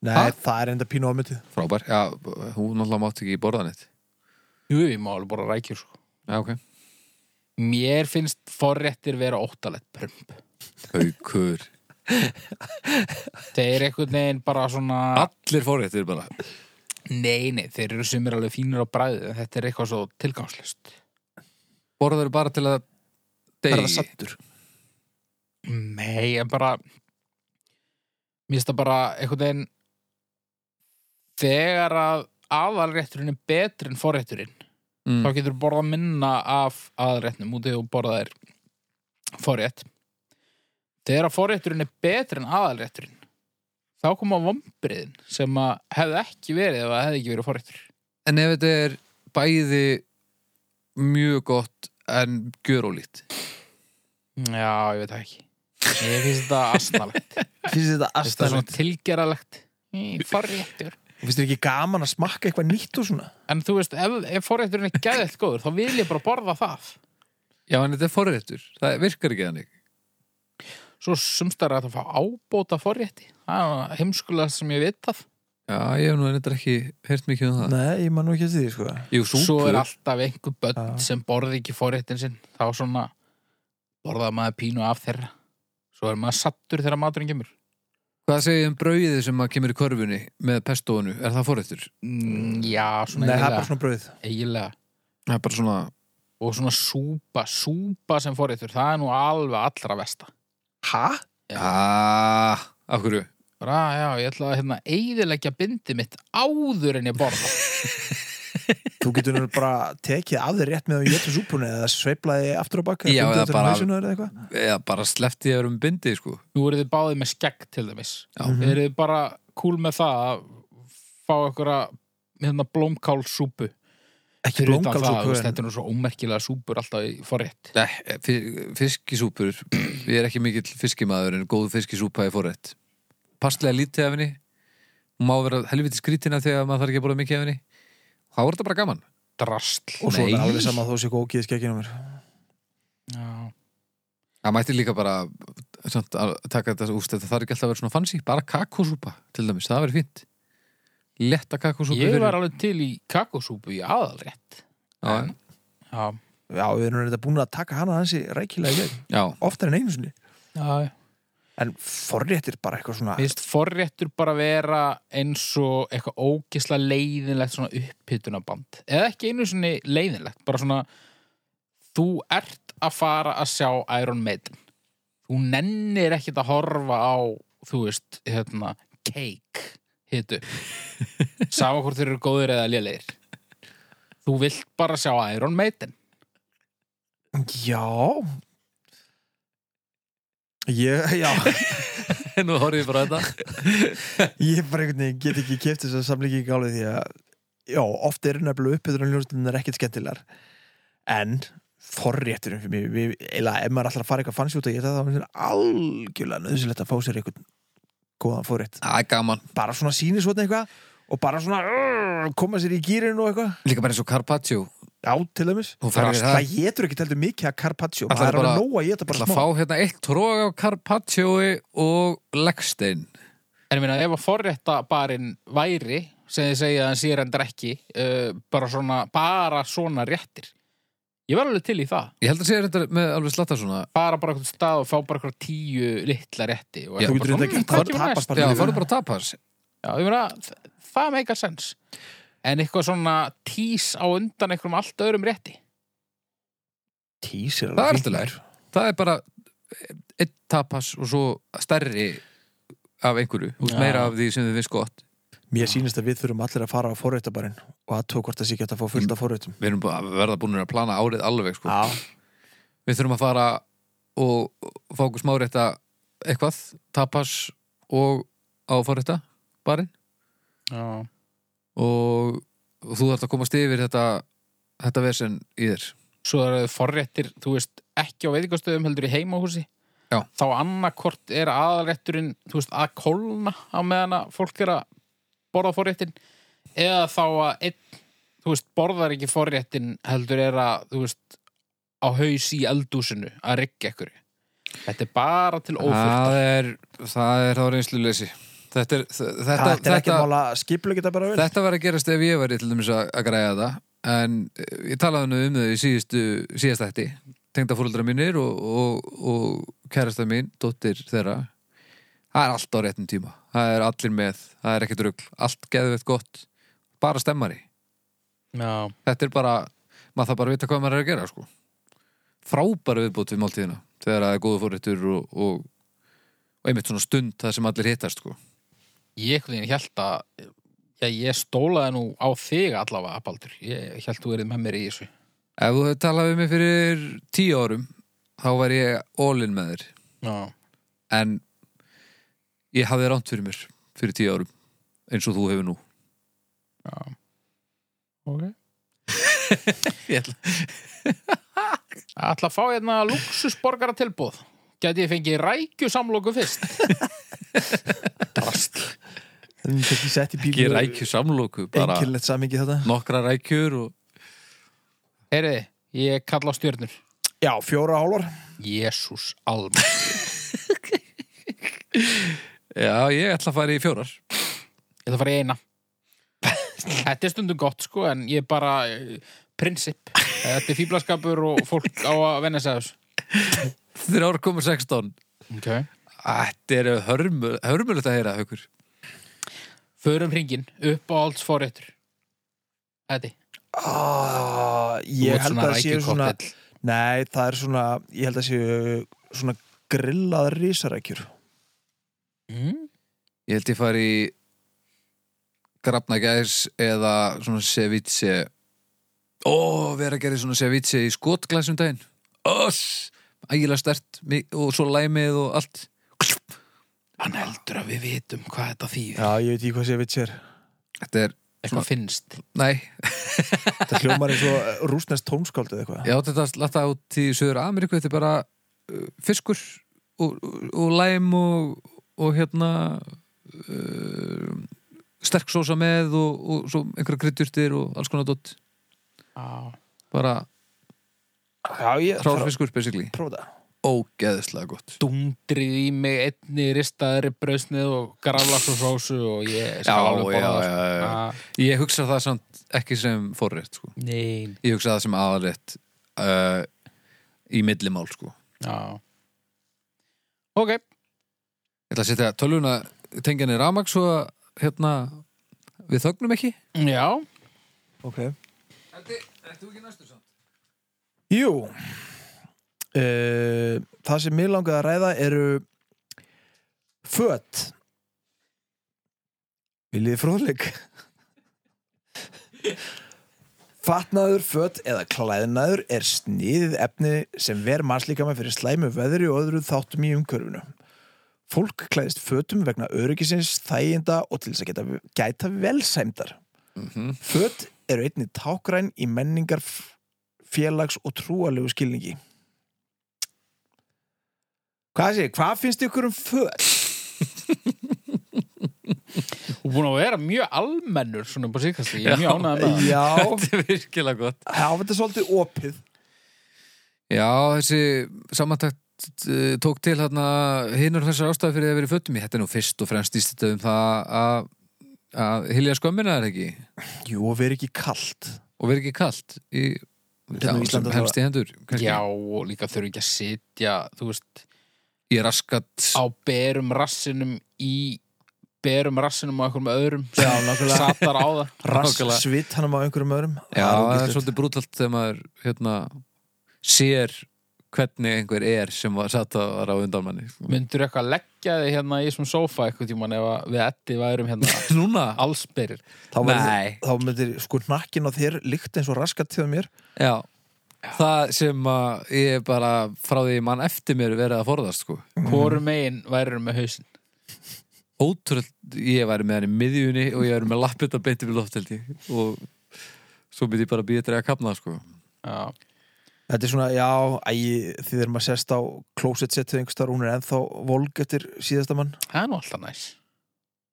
S2: Nei,
S1: Ha?
S2: það er enda pínu ámyndið
S1: frábær já, hún náttúrulega mátt ekki í borðanitt
S3: Jú, ég má alveg bara rækjur sko.
S1: já, ok,
S3: Mér finnst forréttir vera óttalett prump
S1: haukur
S3: Þeir einhvern veginn bara svona
S1: allir forréttir bara
S3: Nei, nei, þeir eru sumir alveg fínir á bræðu en þetta er eitthvað svo tilgangslust
S1: borðar bara til að
S2: Það er það
S1: degi,
S2: sattur
S3: Nei, en bara Mér finnst það bara einhvern veginn Þegar að aðalrétturinn er betri en forrétturinn þá
S1: mm.
S3: getur þú borðað minna af aðalréttnum út þegar þú borðað er forrétt Þegar að forrétturinn er betri en aðalrétturinn þá koma vombriðin sem að hefði ekki verið ef það hefði ekki verið forréttur
S1: En ef þetta er bæði mjög gott en gjörólíkt
S3: Já, ég veit það ekki Ég finnst þetta asnalegt
S2: finnst þetta
S3: Þetta er svona
S2: aðstæðan
S3: tilgeralegt Forréttur
S2: finnst þetta ekki gaman að smakka eitthvað nýtt og svona
S3: En þú veist, ef, ef forrétturinn er gæðið góður þá vil ég bara borða það
S1: Já, en þetta er forréttur, það virkar ekki þannig
S3: Svo sumstar er hægt að það fá ábóta forrétti Það er heimskulega sem ég veit það
S1: Já, ég hef nú þetta ekki heyrt mikið um það
S2: nei, ég man nú ekki eftir því sko
S1: Jú,
S3: Svo
S1: súpur
S3: er alltaf einhver börn
S2: Já.
S3: sem borði ekki forréttin sinn þá svona borðað maður pínu af þeirra Svo er maður sattur þegar maturinn kemur
S1: Hvað segir þið um brauðið sem að kemur í körfunni með pestóinu, er það forréttur?
S3: mm, Já,
S2: nei,
S3: svona
S2: það er bara
S3: eiginlega,
S2: svona brauð
S3: eiginlega
S1: Það er bara svona
S3: Og svona súpa, súpa sem forréttur Það er nú alveg allra vesta
S2: hæ?
S3: Já.
S1: Ah, af hverju?
S3: bara, já, ég ætla að hérna eigðilegja bindi mitt áður en ég borða
S2: þú getur nú bara tekið af þér rétt með að jötu súpunni eða sveiplaði aftur á bakka
S1: Já, eða bara-
S2: bara
S1: Eða bara sleppti ég að vera um bindi, sko
S3: Nú eru þið báðið með skegg til dæmis
S1: Já.
S3: mm Eru þið bara cool með það að fá einhverja hérna, blómkálsúpu
S2: ekki
S3: fyrir utan það, þú
S2: blómkálsúpu
S3: veist,
S2: en-
S3: þetta er nú svo ómerkilega súpur alltaf í forrétt
S1: Nei, fi- fiskisúpur Ég er ekki mikill fiskimaður en góð fiskisúpa er forrétt Passlega lítið af henni Hún Má vera helviti skrítina þegar maður þarf ekki að bóla mikið af henni Þá er þetta bara gaman
S3: drastl
S2: og svo er
S1: Nei.
S2: það alveg sama þó sé gókið skekkinu mér
S3: Já.
S1: Það mætti líka bara samt, að taka þetta úst Þetta þarf ekki alltaf að vera svona fancy Bara kakosúpa til dæmis, það verið fínt Letta kakosúpa
S3: Ég var alveg til í kakosúpu í aðalrétt
S1: Já,
S3: Já,
S2: já, við erum reynda búin að taka hana hansi rækilega í gegn
S1: já,
S2: oftar en einu sinni
S3: já
S2: en forréttir bara eitthvað svona
S3: Vist, forréttur bara vera eins og eitthvað ógisla leiðinlegt svona upphytunaband eða ekki einu sinni leiðinlegt bara svona þú ert að fara að sjá Iron Maiden þú nennir ekkit að horfa á þú veist, hérna, cake hitu sama hvort þeir eru góðir eða lélegir þú vilt bara sjá Iron Maiden
S2: já ég, já
S1: nú horfði ég bara á þetta
S2: ég bara einhvern veginn get ekki keft þess að samlíking álið því að já, oft eru nefnilega uppbyttur en ljónstunir ekkert skemmtilegar en forrétturum fyrir mig við, eila, ef maður ætlar að fara eitthvað fannsjúta ég það þá er algjörlega nöðsilegt að fá sér einhvern góðan forrétt
S1: Það er gaman
S2: bara svona síni svona eitthvað og bara svona rrr, koma sér í gýrinu og eitthvað
S1: Líka bara eins og Carpaccio
S2: já, til dæmis
S1: Hún fær ekki það
S2: það getur ekki heldur mikið að carpaccio
S1: Ætlarðu
S2: maður er
S1: bara-
S2: alveg nóg að geta
S1: Það
S2: bara
S1: að
S2: smá
S1: fá hérna eitt tróg af Carpaccioi og Legstein
S3: En ég meina, ef að forréttabarinn væri, sem þið segja að hann sér en drekki, uh, bara, svona, bara svona réttir. Ég var alveg til í það.
S1: Ég held að segja þetta með alveg slatta svona
S3: Fara bara eitthvað stað og fá bara eitthvað tíu litla rétti. og
S1: Já,
S3: eitthvað
S2: þú
S3: bara
S2: getur þetta ekki
S3: svona,
S2: það
S3: "Mm, hvað kemur næst?"
S2: tapast
S1: Já,
S2: bara
S1: farðu bara að tapas
S3: Já, ég meina, þ- það meikar sens. En eitthvað svona tís á undan einhverjum allt öðrum rétti.
S2: tísir
S1: Það er alltaf leir Það er bara eitt tapas og svo stærri af einhverju Þú veist
S3: Já.
S1: meira af því sem þið finnst gott
S2: mér sýnist að við þurfum allir að fara á forréttabarinn og að tók hvort það sé geta að fá fullt
S1: Mm.
S2: af forréttum
S1: Við erum bara að verða búin að plana árið alveg sko.
S2: Já,
S1: Við þurfum að fara og fá okkur smárétta eitthvað tapas og áfárrétta barinn
S3: Já.
S1: og þú þarft að komast yfir þetta þetta vesen í þér
S3: Svo eru forréttir, þú veist, ekki á veitingastöðum heldur í heimahúsi.
S1: Já.
S3: Þá annarkort er aðalrétturinn, þú veist, að kólna á meðan að fólk er að borða forréttin eða þá að einn, þú veist, borðar ekki forréttin heldur er að, þú veist, á haus í eldúsinu að rigga ykkur. Þetta er bara
S1: Ah.
S3: til ófyrta.
S1: Það er, það er þá reynsluleysi Þetta, er, þetta,
S2: þetta,
S1: þetta,
S2: er ekki mála skiplega geta bara vel
S1: þetta var að gerast ef ég væri til dæmis að, að græja það en eh, ég talaði nú um þau í síðustu, síðast ætti tengda fóröldra mínir og, og, og kærasta mín, dóttir þeirra það er allt á réttum tíma það er allir með, það er ekkert rugl allt geðvett gott, bara stemmari
S3: Já.
S1: þetta er bara, maður þarf bara að vita hvað maður er að gera sko. frábæra viðbútt við máltíðina þegar það er góðu fórrættur og, og, og einmitt svona stund það sem allir hittast sko.
S3: Ég einhvern veginn held að já, ég stólaði nú á þig allavega, Baldur. Ég held þú verið með mér í þessu.
S1: Ef þú hefði talað við mig fyrir tíu árum þá var ég all-in með þér
S3: Já.
S1: en ég hafði ránt fyrir mér fyrir tíu árum eins og þú hefur nú
S3: Já. Ok.
S1: Ég ætla-
S3: Ætla að fá hérna luxusborgara tilbúð. Gæti ég fengið rækjusamlóku fyrst? Drast.
S2: Þannig að ekki sett í bíl
S1: Ekki rækju samlóku, bara
S2: Einkjöldlegt samingi þetta
S1: nokkra rækjur og
S3: Heyriði, ég kalla á stjörnur.
S2: Já, fjóra hálfar
S3: Jésús alma.
S1: já, ég ætla að fara í fjórar
S3: Ég ætla að fara í eina. Þetta er stundum gott sko, en ég er bara eh, prinsipp. Þetta er fýblaskapur og fólk á að venna sig að þessu.
S1: þrjár komur 16
S3: Okay.
S1: Þetta er hörmul- hörmulegt að heyra, haukur
S3: Förum hringin, upp á alls forréttur. Þetta.
S2: ah, Ég held að það séu svona Nei, það er svona Ég held að séu svona grillað risarækjur
S3: Mm?
S1: Ég held ég fari í grafnagæs eða svona ceviche Ó, vera að gera svona ceviche í skotglasum daginn Oss, ægilega stert og svo læmið og allt
S3: Hann heldur að við vitum hvað þetta þýðir.
S2: Já, ég veit ekki hvað sé við sér
S1: Þetta er,
S3: Eitthvað finnst.
S1: nei,
S2: Það hljómar eins og rúsnest tónskáld eða eitthvað
S1: ég átti þetta að latta út í Söður Ameríku, þetta er bara uh, fiskur og, og, og læm og, og hérna uh, sterk sósa með og, og svo einhverja kryddjurtir og alls konar dott
S3: Já.
S1: bara
S2: Já, ég þarf að
S1: hrárfiskur basically
S2: prófa það
S1: ógeðslega gott
S3: Dundrið í mig einni ristaðri brausnið og graflags og sósu og ég skal
S1: Já,
S3: alveg borða sko. Ah.
S1: já,
S3: það.
S1: já, já. Ég hugsa það samt ekki sem forrétt sko.
S3: já. Nein.
S1: Ég hugsa það sem aðalrétt uh, í millimál sko.
S3: Já. Ok.
S1: Ég ætla að setja tölvuna tengjan í rafmagn svo að hérna, við þögnum ekki
S3: Já.
S2: Ok
S1: Ertu ekki næstu samt?
S2: Jú uh, Það sem mér langaði að ræða eru Föt Viljiði fróðleik Fatnaður, föt eða klæðnaður er sniðið efni sem ver mannslíkama fyrir slæmu veðri og öðru þáttum í umkörfinu. Fólk klæðist fötum vegna öryggisins, þæginda og til þess að geta gæta velsæmdar.
S1: Mhm.
S2: Föt eru einni tákræn í menningar félags og trúalegu skilningi Hvað sé, hvað finnst ykkur um föt?
S3: Og búin að vera mjög almennur svona på síkast. Ég er mjög ánægð með það.
S2: Já,
S1: Þetta er virkilega gott
S2: hafa þetta svolítið opið
S1: Já, þessi samantakt uh, tók til hérna hinnur þessar ástæði fyrir því að vera í fötum í Þetta er nú fyrst og fremst ístættu um það að- að hilja skömmina er ekki
S2: Jú, og verið ekki kalt
S1: og vera ekki kalt í já,
S2: Hérna á
S1: sem
S2: Íslandi þá-
S1: helst í hendur kannski.
S3: Já, og líka þurfi ekki að sitja, þú veist,
S1: Ég er raskat
S3: á berum rassinum í berum rassinum á einhverjum öðrum
S2: Já,
S3: sem
S2: nákvæmlega
S3: satar á það.
S2: Rass
S1: Nákvæmlega.
S2: svitt hann á einhverjum öðrum
S1: Já,
S2: er
S1: það er
S2: ógeðslegt.
S1: svolítið brútalt þegar maður hérna, sér hvernig einhver er sem var satt að vara á undan manni sko.
S3: Myndur eitthvað leggja þig hérna í svona sófa eitthvað tímann ef að við ætti værum hérna
S1: Núna?
S3: allsberir.
S2: Þá, verður-
S1: Nei,
S2: þá myndir sko nakkin á þér líkt eins og raskat til mér
S1: já Það sem að ég bara frá því mann eftir mér verið að forðast sko.
S3: Hvorum megin værum með hausinn?
S1: Ótrúld, ég væri með hann í miðjunni og ég væri með lappið að beinti við lofteldi og svo myndi ég bara býja þetta að kapna sko.
S3: Já.
S2: Þetta er svona, já, æ, því þegar maður sérst á klósetsettið einhverstaðar, hún er ennþá volg eftir síðasta mann
S3: Það er nú alltaf næs.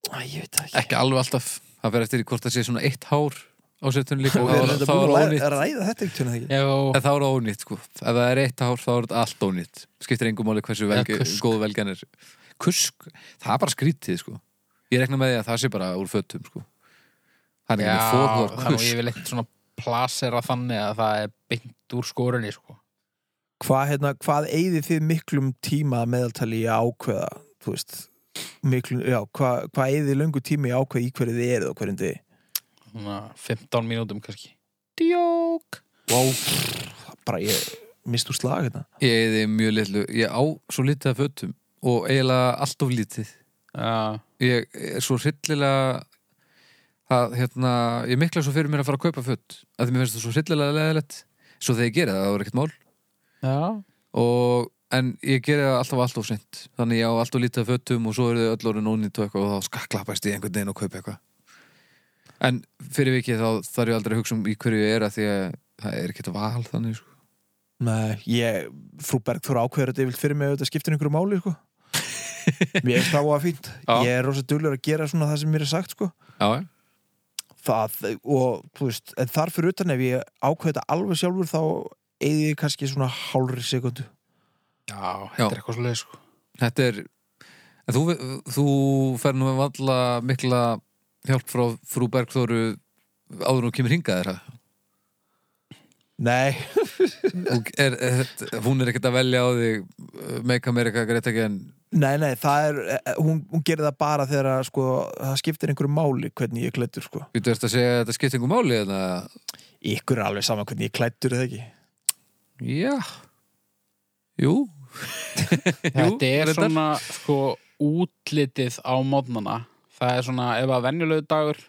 S2: Æ, ég veit það
S1: Ekki alveg alltaf, það fer eftir í hvort það sé svona eitt hár á setunni líka
S2: Og
S1: og
S2: við erum
S1: þá er-
S2: þetta
S1: þá er
S2: búin að
S1: ónýtt
S2: læra- ræða þetta einhvern veginn
S3: Já,
S1: En þá er það ónýtt sko Ef það er eitt hár þá er þetta allt ónýtt Skiptir engum máli hversu velgi,
S3: Eða kusk.
S1: góð velgan er Kusk, það er bara skrítið sko Ég rekna með því að það sé bara úr fötum sko Það er
S3: já
S1: ekki með fórhór
S3: það er nú
S1: kusk
S3: yfirleitt svona plasera þannig að það er beint úr skórunni, sko.
S2: hvað, hérna, hvað eigði þið miklum tíma að meðaltali í að ákveða þú veist miklu, já, hvað, hvað eigði þið löngu tíma í að ákveða í hverju þið eruð og hverjum þið
S3: Svona 15 mínútum kannski. Djók!
S2: wow. bara ég mist úr slag hérna.
S1: Ég eði mjög litlu, ég á svo lítið af fötum og eiginlega allt of lítið
S3: Já,
S1: Ég er svo hryllilega að hérna, ég mikla svo fyrir mér að fara að kaupa föt að því mér finnst það svo hryllilega leðilegt svo þegar ég gera það, það var ekkert mál
S3: já,
S1: og, en ég gera það alltaf allt of sent þannig ég á allt of lítið af fötum og svo eru þau öll orðin ónýtt og eitthvað og þá skaklapast ég einhvern veginn og kaupa eitthvað en fyrir vikið þá þarf ég aldrei að hugsa um í hverju ég er að því að það er ekkert val þannig sko.
S2: Nei, ég, frú Bergþóra ákveður þetta yfir fyrir mig auðvitað skiptir einhverju máli sko. mér er það á að fínt
S1: Já.
S2: ég er rosa duglur að gera svona það sem mér er sagt sko.
S1: Já,
S2: það, og þú veist en þar fyrir utan ef ég ákveð þetta alveg sjálfur þá eigði ég kannski svona hálfri sekundu
S3: já, þetta er eitthvað svo leið sko.
S1: Þetta er en Þú, þú fer nú valla mikla hjálp frá frú Bergþóru áður en þú kemur hingað þér
S2: Nei,
S1: er, er, hún er ekkert að velja á þig uh, Make America Great Again
S2: nei, nei, það er eh, hún, hún gerir það bara þegar að, sko, það skiptir einhverju máli hvernig ég er klættur sko.
S1: Þú ert að segja að þetta skiptingu máli en að,
S2: ykkur er alveg sama hvernig ég er klættur eða ekki
S1: já Jú
S3: Þetta er
S1: reyndar.
S3: svona sko, útlitið á mótnana Það er svona, ef að venjulegu dagur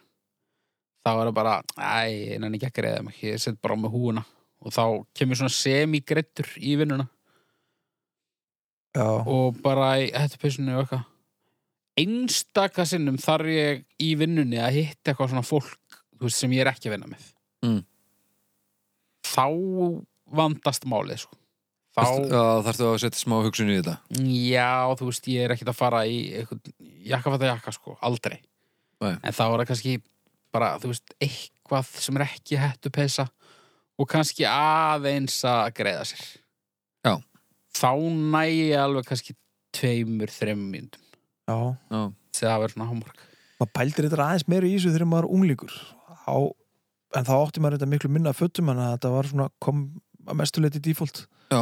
S3: þá er það bara Æ, en hann ekki að greiða mig, ég set bara á með húuna og þá kemur svona semigreittur í vinnuna
S2: Já,
S3: og bara í hættupessunni og eitthvað einstaka sinnum þarf ég í vinnunni að hitta eitthvað svona fólk þú veist, sem ég er ekki að vinna með
S1: Mm.
S3: þá vandast málið sko. þá,
S1: Já, þarftu að setja smá hugsun í þetta
S3: já, þú veist, ég er ekkert að fara í eitthvað, jakkafata jakka, sko, aldrei
S1: Nei.
S3: en þá er það kannski bara, þú veist, eitthvað sem er ekki hættupessa og kannski aðeins að greiða sér
S1: Já.
S3: þá næ ég alveg kannski tveimur, þreimur mínútum
S2: já
S1: Já,
S3: þegar það verður svona hámark
S2: maður pældir þetta aðeins meira í þessu þegar maður er unglíkur á, en þá átti maður þetta miklu minna af fötum en þetta var svona kom að mestuleiti default
S1: já,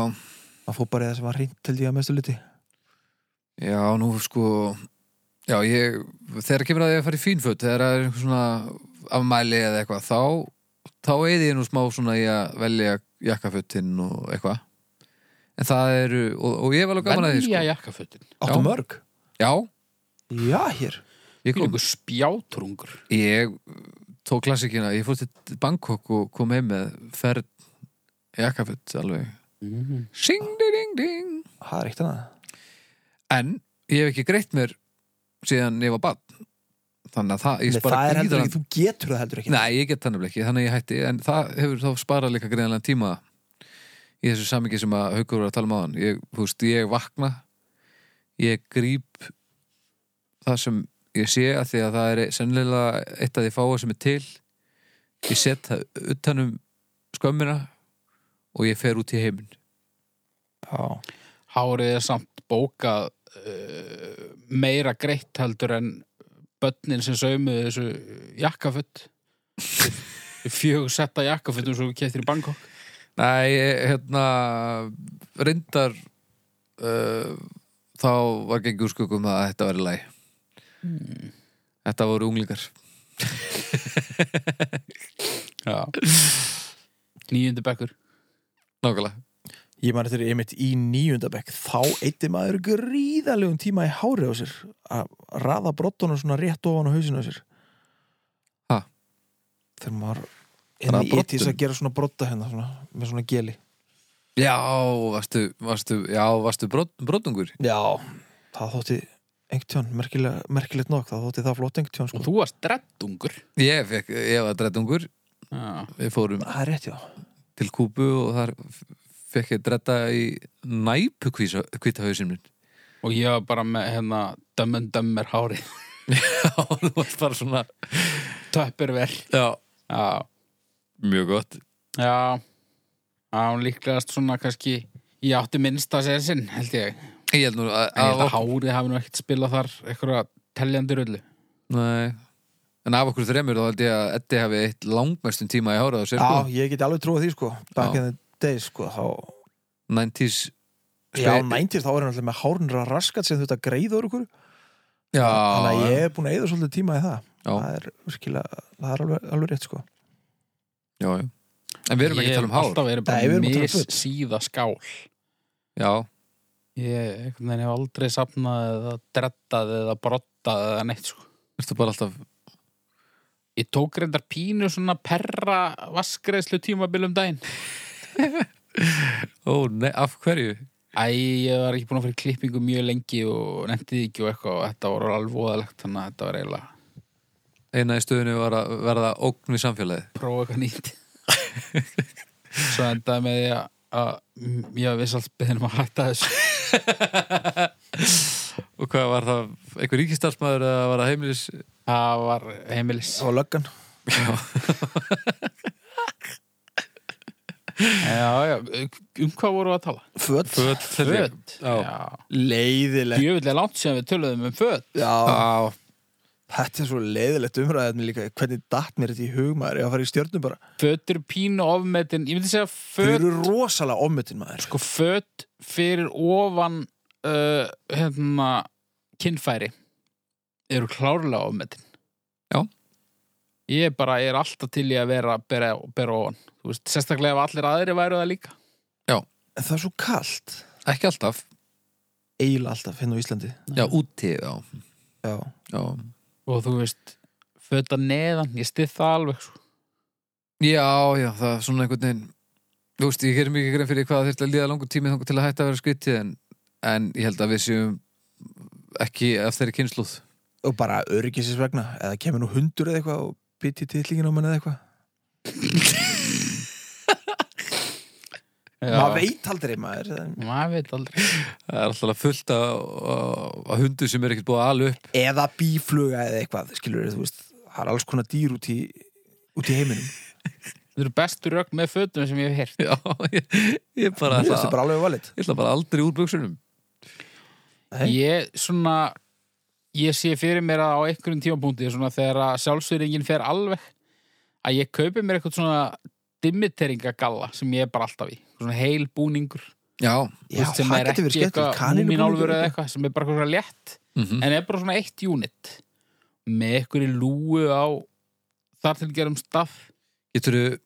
S2: maður fór bara í það sem var hreint til því að mestuleiti
S1: já nú sko Já, ég, þegar kemur að ég að fara í fínföt þegar það er einhver svona afmæli eða eitthvað, þá þá eði ég nú smá svona í að velja jakkafötinn og eitthvað en það eru, og, og ég var alveg gaman að því
S3: Venja
S1: sko.
S3: jakkafötin
S2: áttu
S1: Já.
S2: mörg?
S1: Já,
S2: Já, hér
S1: ég kom
S3: Ykkur spjátrungur
S1: ég tók klassikina, ég fór til Bangkok og kom heim með ferð jakkaföt alveg
S3: mm.
S1: Sing, ding, ding, ding
S2: það er eitt annað
S1: En ég hef ekki greitt mér síðan ég var bann Þannig að það, ég
S2: Nei,
S1: spara
S2: það er heldur
S1: gríðarlega-
S2: ekki, þú getur það heldur ekki
S1: Nei, ég get það nefnilega ekki, þannig að ég hætti en það hefur þá sparað líka greiðanlega tíma í þessu samingi sem að haukur var að tala um áðan ég, þú veist, ég vakna ég gríp það sem ég sé að því að það er sennilega eitt af því fáa sem er til ég set það utanum skömmina og ég fer út í heiminn
S2: Já.
S3: Hárið er samt bókað uh, meira greitt heldur en börnin sem saumuðu þessu jakkaföt fjög setta jakkafötum svo við keftir í Bangkok
S1: Nei, ég- hérna reyndar uh, þá var gengur skuggum um að þetta var í læg Hmm. Þetta voru unglingar
S3: Já Nýjundu bekkur
S1: Nákvæmlega
S2: ég man þetta er einmitt í nýjunda bekk þá eitti maður gríðalegum tíma í hári á sér að raða brottunum svona rétt ofan á hausinu á sér
S1: Ha?
S2: þegar maður inn
S1: Raða
S2: í ytis
S1: broddum?
S2: að gera svona brotta hérna svona, með svona geli
S1: Já, varstu, varstu, já, varstu brot, brotungur?
S2: Já, það þótti engtjón, merkilega, merkilegt nokk það þótti það flott engtjón
S3: Og
S2: sko.
S3: þú varst dreddungur
S1: Ég, fekk, ég var drettungur,
S3: Já,
S1: við fórum
S2: Það er rétt, já
S1: til Kúbu og þar f- fekk ég dretta í næpu kvítahausin minn.
S3: Og ég var bara með hérna dömmen dömmer hárið
S1: Já, þú varst bara svona,
S3: Töppir vel
S1: já,
S3: Já
S1: mjög gott.
S3: Já, já hún líklegast svona kannski ég átti minnsta sér sinn, held ég.
S1: Ég held nú að,
S3: En ég held
S1: að,
S3: að hárið hafi nú ekkert spilað þar einhverja teljandi rullu.
S1: nei, en af okkur þremur þá held ég að Eddi hafi eitt langmestum tíma í hárað á sér,
S2: Já,
S1: sko.
S2: ég geti alveg trúið því sko Back
S1: Já.
S2: in the day sko þá...
S1: 90s,
S2: Já, næntir þá er hann alltaf með hárnra raskat sem þetta greiður ykkur
S1: já,
S2: Þannig að ég er búin að eyða svolítið tíma í það
S1: Já.
S2: Það er virkilega, það er alveg, alveg rétt sko
S1: já, já. En við erum ekki að tala um hár.
S3: Alltaf erum
S2: Nei, við
S3: bara
S2: erum að tala um
S3: mis
S2: föt.
S3: síða skál
S1: Já,
S3: Ég einhvern veginn hef aldrei safnað eða drettað eða brottað eða neitt sko.
S1: ertu bara alltaf
S3: Ég tók reyndar pínu svona perra vaskreðslu tímabil um daginn
S1: Ó, nei, af hverju?
S3: Æ, ég var ekki búin að fyrir klippingu mjög lengi og nefntið ekki og eitthvað og þetta voru alveg voðalegt þannig að þetta var eiginlega
S1: Eina í stöðunni var að verða ógn við samfélagið
S3: prófa eitthvað nýtt Svo endaði með því að- að m- ég var viss allt beðin um að hætta þessu
S1: Og hvað var það, einhver ríkistarfsmæður eða var það heimilis
S3: Það var heimilis
S2: og löggan
S3: Já, já, um hvað voru að tala?
S2: föt,
S1: föt? held ég.
S3: Föt,
S1: Já.
S3: já
S2: leiðilegt
S3: Jöfnilega langt sem við töluðum um föt
S2: já,
S1: Já,
S2: þetta er svo leiðilegt umræðið líka, hvernig datt mér þetta í hug maður ég að fara í stjörnum bara,
S3: Föt eru pínu ofmetin Ég myndi segja
S2: þau
S3: föt
S2: eru rosalega ommutin maður
S3: sko föt fyrir ofan uh, hérna kynfæri eru klárlega ofmetin
S1: Já.
S3: ég er bara, ég er alltaf til í að vera bera, bera ofan, þú veist, sérstaklega ef allir aðri væru það líka
S2: en það er svo kalt,
S1: ekki alltaf
S2: eiginlega alltaf hérna á Íslandi
S1: Já, úti, já,
S2: já,
S1: já.
S3: og þú veist, föt að neðan ég stið það alveg sko.
S1: Já, já, það er svona einhvern veginn Þú veist, ég gerir mikið grein fyrir hvað það þurfti að líða langur tími þangur til að hætta að vera skrítið en, en ég held að við séum ekki af þeirri kynnslóð
S2: og bara örgisins vegna eða kemur nú hundur eða eitthvað og bytti titlingin á mann eða eitthvað maður veit aldrei maður
S3: maður veit aldrei
S1: Það er alltaf fullt af, af hundu sem er ekkert búið að ala upp
S2: eða bífluga eða eitthvað skilur þú veist, það er alls konar dýr út í út í heiminum
S3: Þetta eru bestu rögg með fötum sem ég hef heyrt
S1: Já, ég, ég bara,
S2: Mér
S1: ætla,
S2: finnst þetta bara alveg valið
S1: ég ætla bara aldrei úr buksunum
S2: Nei.
S3: Ég svona ég sé fyrir mér að á einhverjum tímapunkti svona þegar að sjálfsverðingin fer alveg að ég kaupi mér eitthvað svona dimmiteringa sem ég er bara alltaf í svona heil búningur
S1: Já,
S3: þú veist, sem er ekki eitthvað múminálfur eða eitthvað sem er bara eitthvað svona létt
S1: mm -hmm.
S3: en er bara svona eitt unit með einhverju lúu á þar til gerum staff
S1: geturðu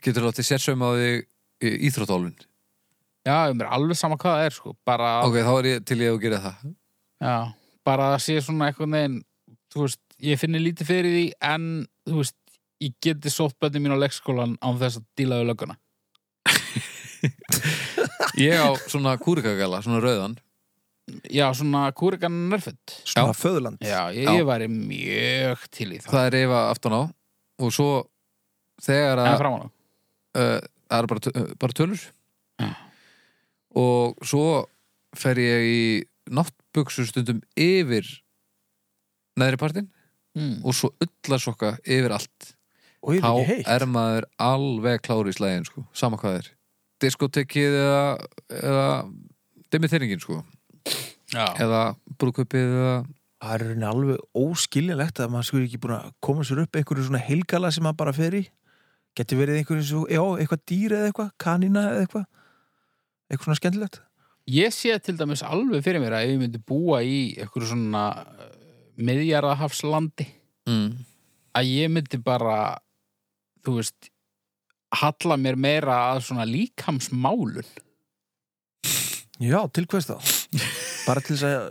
S1: getur látið sérsaum á þig í íþróttálfin
S3: já, ég mér er alveg sama hvað það er sko bara að
S1: Ok, þá er ég til ég að gera það
S3: Já, bara að sé svona eitthvað neginn, þú veist, ég finnir lítið fyrir því en, þú veist, ég geti sótt bönnum mín á leikskólan án þess að díla við lögguna.
S1: Ég á svona kúrikagala, svona rauðan
S3: Já, svona kúrikan nörfett.
S2: svona föðurland
S3: Já, ég,
S1: Já.
S3: ég væri mjög til í það.
S1: Það er reyfa aftan á og svo þegar að
S3: En fram á nú.
S1: uh, það eru bara, tö- uh, bara tölur
S3: Já.
S1: og svo fer ég í náttbuksur stundum yfir neðri partinn
S3: Mm.
S1: og svo ullarsokka yfir allt
S2: og ég er ekki
S1: þá
S2: heitt
S1: er maður alveg klári í slæðin sko, sama hvað er diskotekið eða, eða demitteringin sko
S3: Já.
S1: eða brúköpið eða
S2: það er rauninni alveg óskiljanlegt að maður skur ekki búin að koma sér upp einhverju svona heilgala sem maður bara fer í geti verið einhverju svo, já, eitthvað dýr eða eitthvað kanina eða eitthvað eitthvað svona skemmtilegt
S3: Ég sé til dæmis alveg fyrir mér að ef ég myndi búa í eitthvað svona uh, miðjarðahafslandi
S1: mm.
S3: að ég myndi bara þú veist halla mér meira að svona líkamsmálun
S2: já, til hvers þá bara til þess að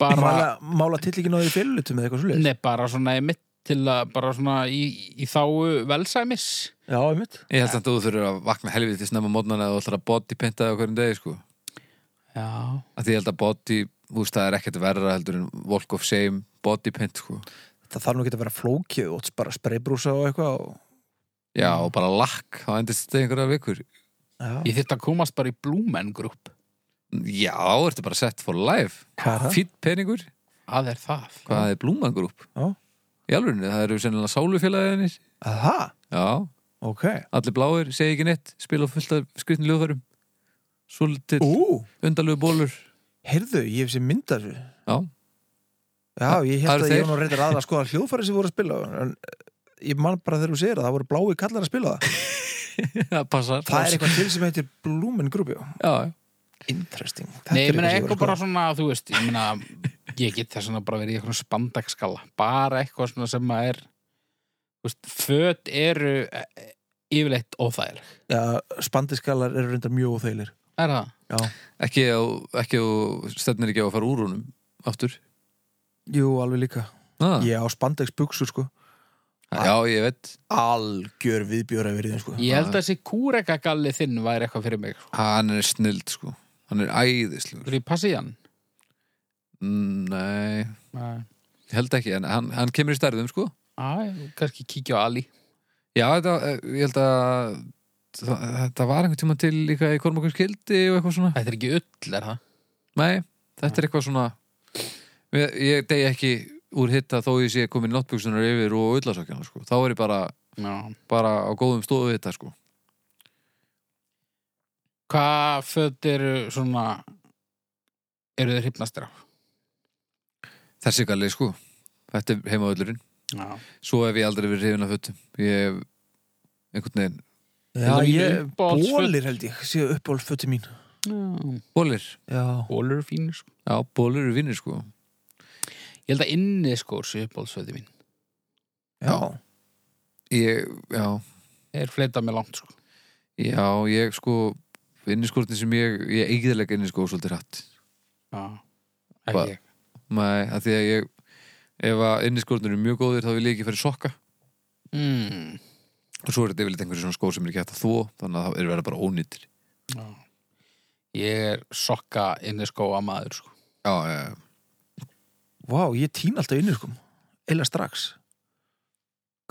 S3: bara,
S2: mála, mála titlingin á því fyrirlutum eða eitthvað svo
S3: Nei, bara svona einmitt til að bara svona í, í þáu velsæmis
S2: já, einmitt
S1: ég held samt að þú þurfur að vakna helvið til snemma mótnan eða þú ætlar að bodypinta það hverjum degi sko
S3: Já
S1: að því ég held að body, þú veist, það er ekkert verra heldur en walk of shame, body paint sko.
S2: það þarf nú ekki að vera flókið og bara spreybrúsa og eitthvað og...
S1: já,
S2: Mm.
S1: og bara lakk, þá endist þetta í einhverja vikur
S2: já,
S3: Ég þyrfti að komast bara í Blúmen Group
S1: já, ertu bara set for life
S2: hvað er það?
S1: fýtt peningur,
S3: Það er það
S1: hvað er blúmangrúp
S2: Já.
S1: í alvörinu, það eru sennilega sálufélaginir
S2: Aha,
S1: já,
S2: ok
S1: allir bláir, segi ekki neitt spila á fullt af skrifnum ljóðfærum svolítill,
S2: ú,
S1: undarlegu bólur
S2: heyrðu, ég hef sér myndað þessu
S1: já,
S2: Já, ég
S1: Það
S2: held
S1: eru
S2: að ég
S1: þeir.
S2: var nú reyndar aðra að skoða hljóðfæri sem voru að spila en eh, ég man bara þegar þú segir að það voru blái kallar að spila það
S1: það passar
S2: Það er eitthvað til sem heitir Blúmen Group, já
S1: já,
S2: Interesting
S3: Nei, ég meina eitthvað bara svona, þú veist Ég meina, ég get þess að bara verið í eitthvað spandagskalla Bara eitthvað svona sem að er Þú veist, föt eru e, yfirleitt óþægileg
S2: Já, spandiskalar eru reyndar mjög óþeilir
S3: Er það?
S2: Já,
S1: Ekki á, ekki á, stefnir ekki á að fara úr honum aftur.
S2: jú, alveg líka
S1: Ah,
S2: Ég á spandex buksur, sko
S1: já, ég veit.
S2: Algjör viðbjóra verið, sko
S3: Ég held að þessi kúrekagalli þinn væri eitthvað fyrir mig sko.
S1: Hann er snild, sko. Hann er æðislegur.
S3: Þú passi í hann?
S1: Mm, Nei,
S3: Nei.
S1: ég held ekki. En hann, hann kemur í stærðum, sko.
S3: Æ, kannski kíkja á Ali
S1: Já, þetta, eh, ég held að það- þetta var einhvern tíma til líka í Kormakur skildi og eitthvað svona.
S3: Þetta er ekki ull, er það?
S1: Nei, þetta er eitthvað svona ég, ég degi ekki úr hitta þó ég sé komin náttbuksunar yfir og ullasokkjana, sko. Þá er ég bara,
S3: Já
S1: bara á góðum stofu hitta, sko.
S3: Hvað föt eru svona eru þið hrifnastir á?
S1: Þessi galli, sko. Þetta er heimavöllurinn.
S3: Já
S1: Svo hef ég aldrei verið hrifin af fötum. Ég hef einhvern veginn
S2: Já,
S3: Þetta er mín
S2: ég,
S3: uppáhaldsföt.
S2: bólir held ég, séu uppáhaldsfötu mín
S1: bólir.
S2: Já,
S3: Bólur fínir sko
S1: Já, bólir eru vinnir, sko.
S3: Ég held að inni skór sér uppbólsföti mín
S2: já,
S1: Ég, já,
S3: Er fleitað með langt sko
S1: já, ég, sko, inniskórtin sem ég, ég eigðilega inniskó svolítið hratt.
S3: Já
S1: Hva-
S3: Ekki ég
S1: Nei, að því að ég ef að inniskórnir eru mjög góðir þá vil ég ekki fara í sokka
S3: mm.
S1: og svo er þetta yfirleitt einhverjum svona skór sem er ekki hægt að þvó þannig að það er verið bara ónýttir
S3: Já. Ég er sokka inni skóa maður sko
S1: Já, já, já.
S2: vá, ég tín alltaf innir, sko Eila strax,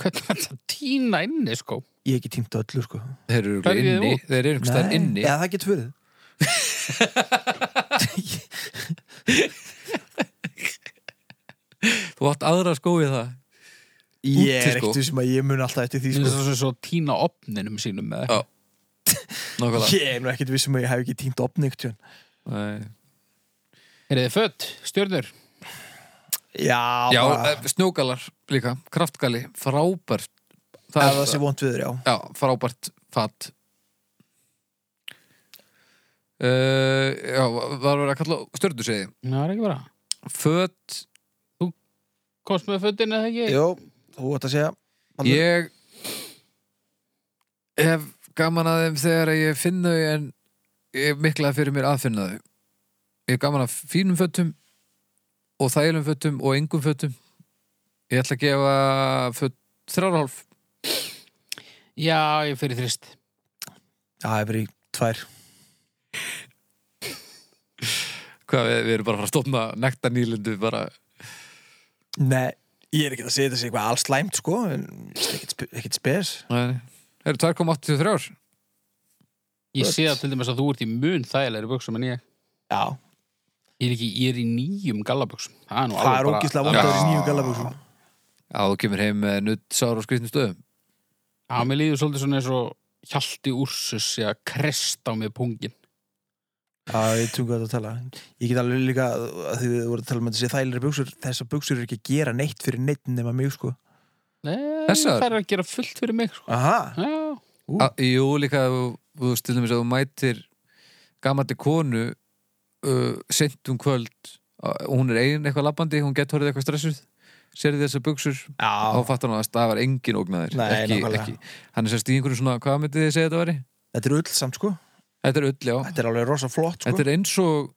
S3: Hvernig er þetta tína inni sko?
S2: ég hef ekki tínt á öllu, sko
S1: þeir eru
S3: Hvað
S1: örugglega
S3: er ég
S1: inni
S3: út?
S1: þeir eru einhvers staðar
S2: Nei,
S1: inni
S2: Eða það getur verið
S1: þú átt aðra skó í það sko,
S2: Ég er
S1: Útiskó.
S2: ekkert sem að ég mun alltaf eftir því,
S3: Mér
S2: sko
S3: finnst það svo tína opninum sínum með
S1: Já. Nákvæmlega
S2: Ég er nú ekkert vissum að ég hef ekki tínt opni ykkur tjón.
S1: Nei.
S3: Er þið fött, stjörnur?
S2: Já,
S1: Já,
S2: bara,
S1: eh, snjógalar líka, kraftgali frábært
S2: ef
S1: það
S2: það
S1: er
S2: sé vond viður, já
S1: Já, frábært fatt Uh, já, var verið að kalla stjördu segi
S3: Það er ekki bara
S1: Föt,
S3: Kost með föttin eða ekki?
S2: Jó, þú ætti að segja Baldur.
S1: Ég hef gaman að þeim þegar ég finn þau en ég hef miklaði fyrir mér að finna þau Ég hef gaman að fínum föttum og þælum föttum og engum föttum Ég ætla að gefa fött þrjárhálf
S3: Já, ég fyrir þrist
S2: Já, ég verið í tvær
S1: Hvað við, við erum bara að fara að stofna nekta nýlindu bara
S2: Nei, ég er ekkert að segja þetta sé eitthvað alls slæmt, sko en ekkert, spe- ekkert spes
S1: Nei, Það eru 2,83
S3: Ég
S2: Föt.
S3: sé það til dæmis að þú ert í mun þægilegri buksum en ég
S2: Já,
S3: Ég er, ekki, ég er í nýjum gallabuksum Það er nú
S2: það
S3: alveg
S2: er
S3: bara-
S2: ógíslega
S1: Já.
S2: vond að vera í nýju gallabúksum
S1: Já, þú kemur heim með nutt sár og skrýtnum stöðum
S3: Já, mér líður svolítið svona eins og Hjalti Úrsus sé að krest á mig pungin
S2: Já, ég tungu að þetta að tala Ég get alveg líka, að því þið voru að tala um að þetta sé þægilega buksur Þessar buksur eru ekki að gera neitt fyrir neitt nema mig, sko
S3: Nei,
S1: Þessar?
S3: það er að gera fullt fyrir mig sko.
S2: Aha,
S3: Já,
S2: Ú.
S1: A, Jú, líka þú, þú stilum þess að þú mætir gamandi konu uh, sent um kvöld uh, hún er ein eitthvað labbandi, hún gett horfið eitthvað stressuð sérði þessar buksur þá
S2: já,
S1: fattar hann að það var engin ógnaðir
S2: Nei, nákvæmlega.
S1: hann er sérst í einhverju svona, hvað myndið þið segja þetta væri?
S2: þetta er öll samt, sko
S1: Þetta er öll, já
S2: Þetta er alveg rosa flott, sko
S1: Þetta er eins og,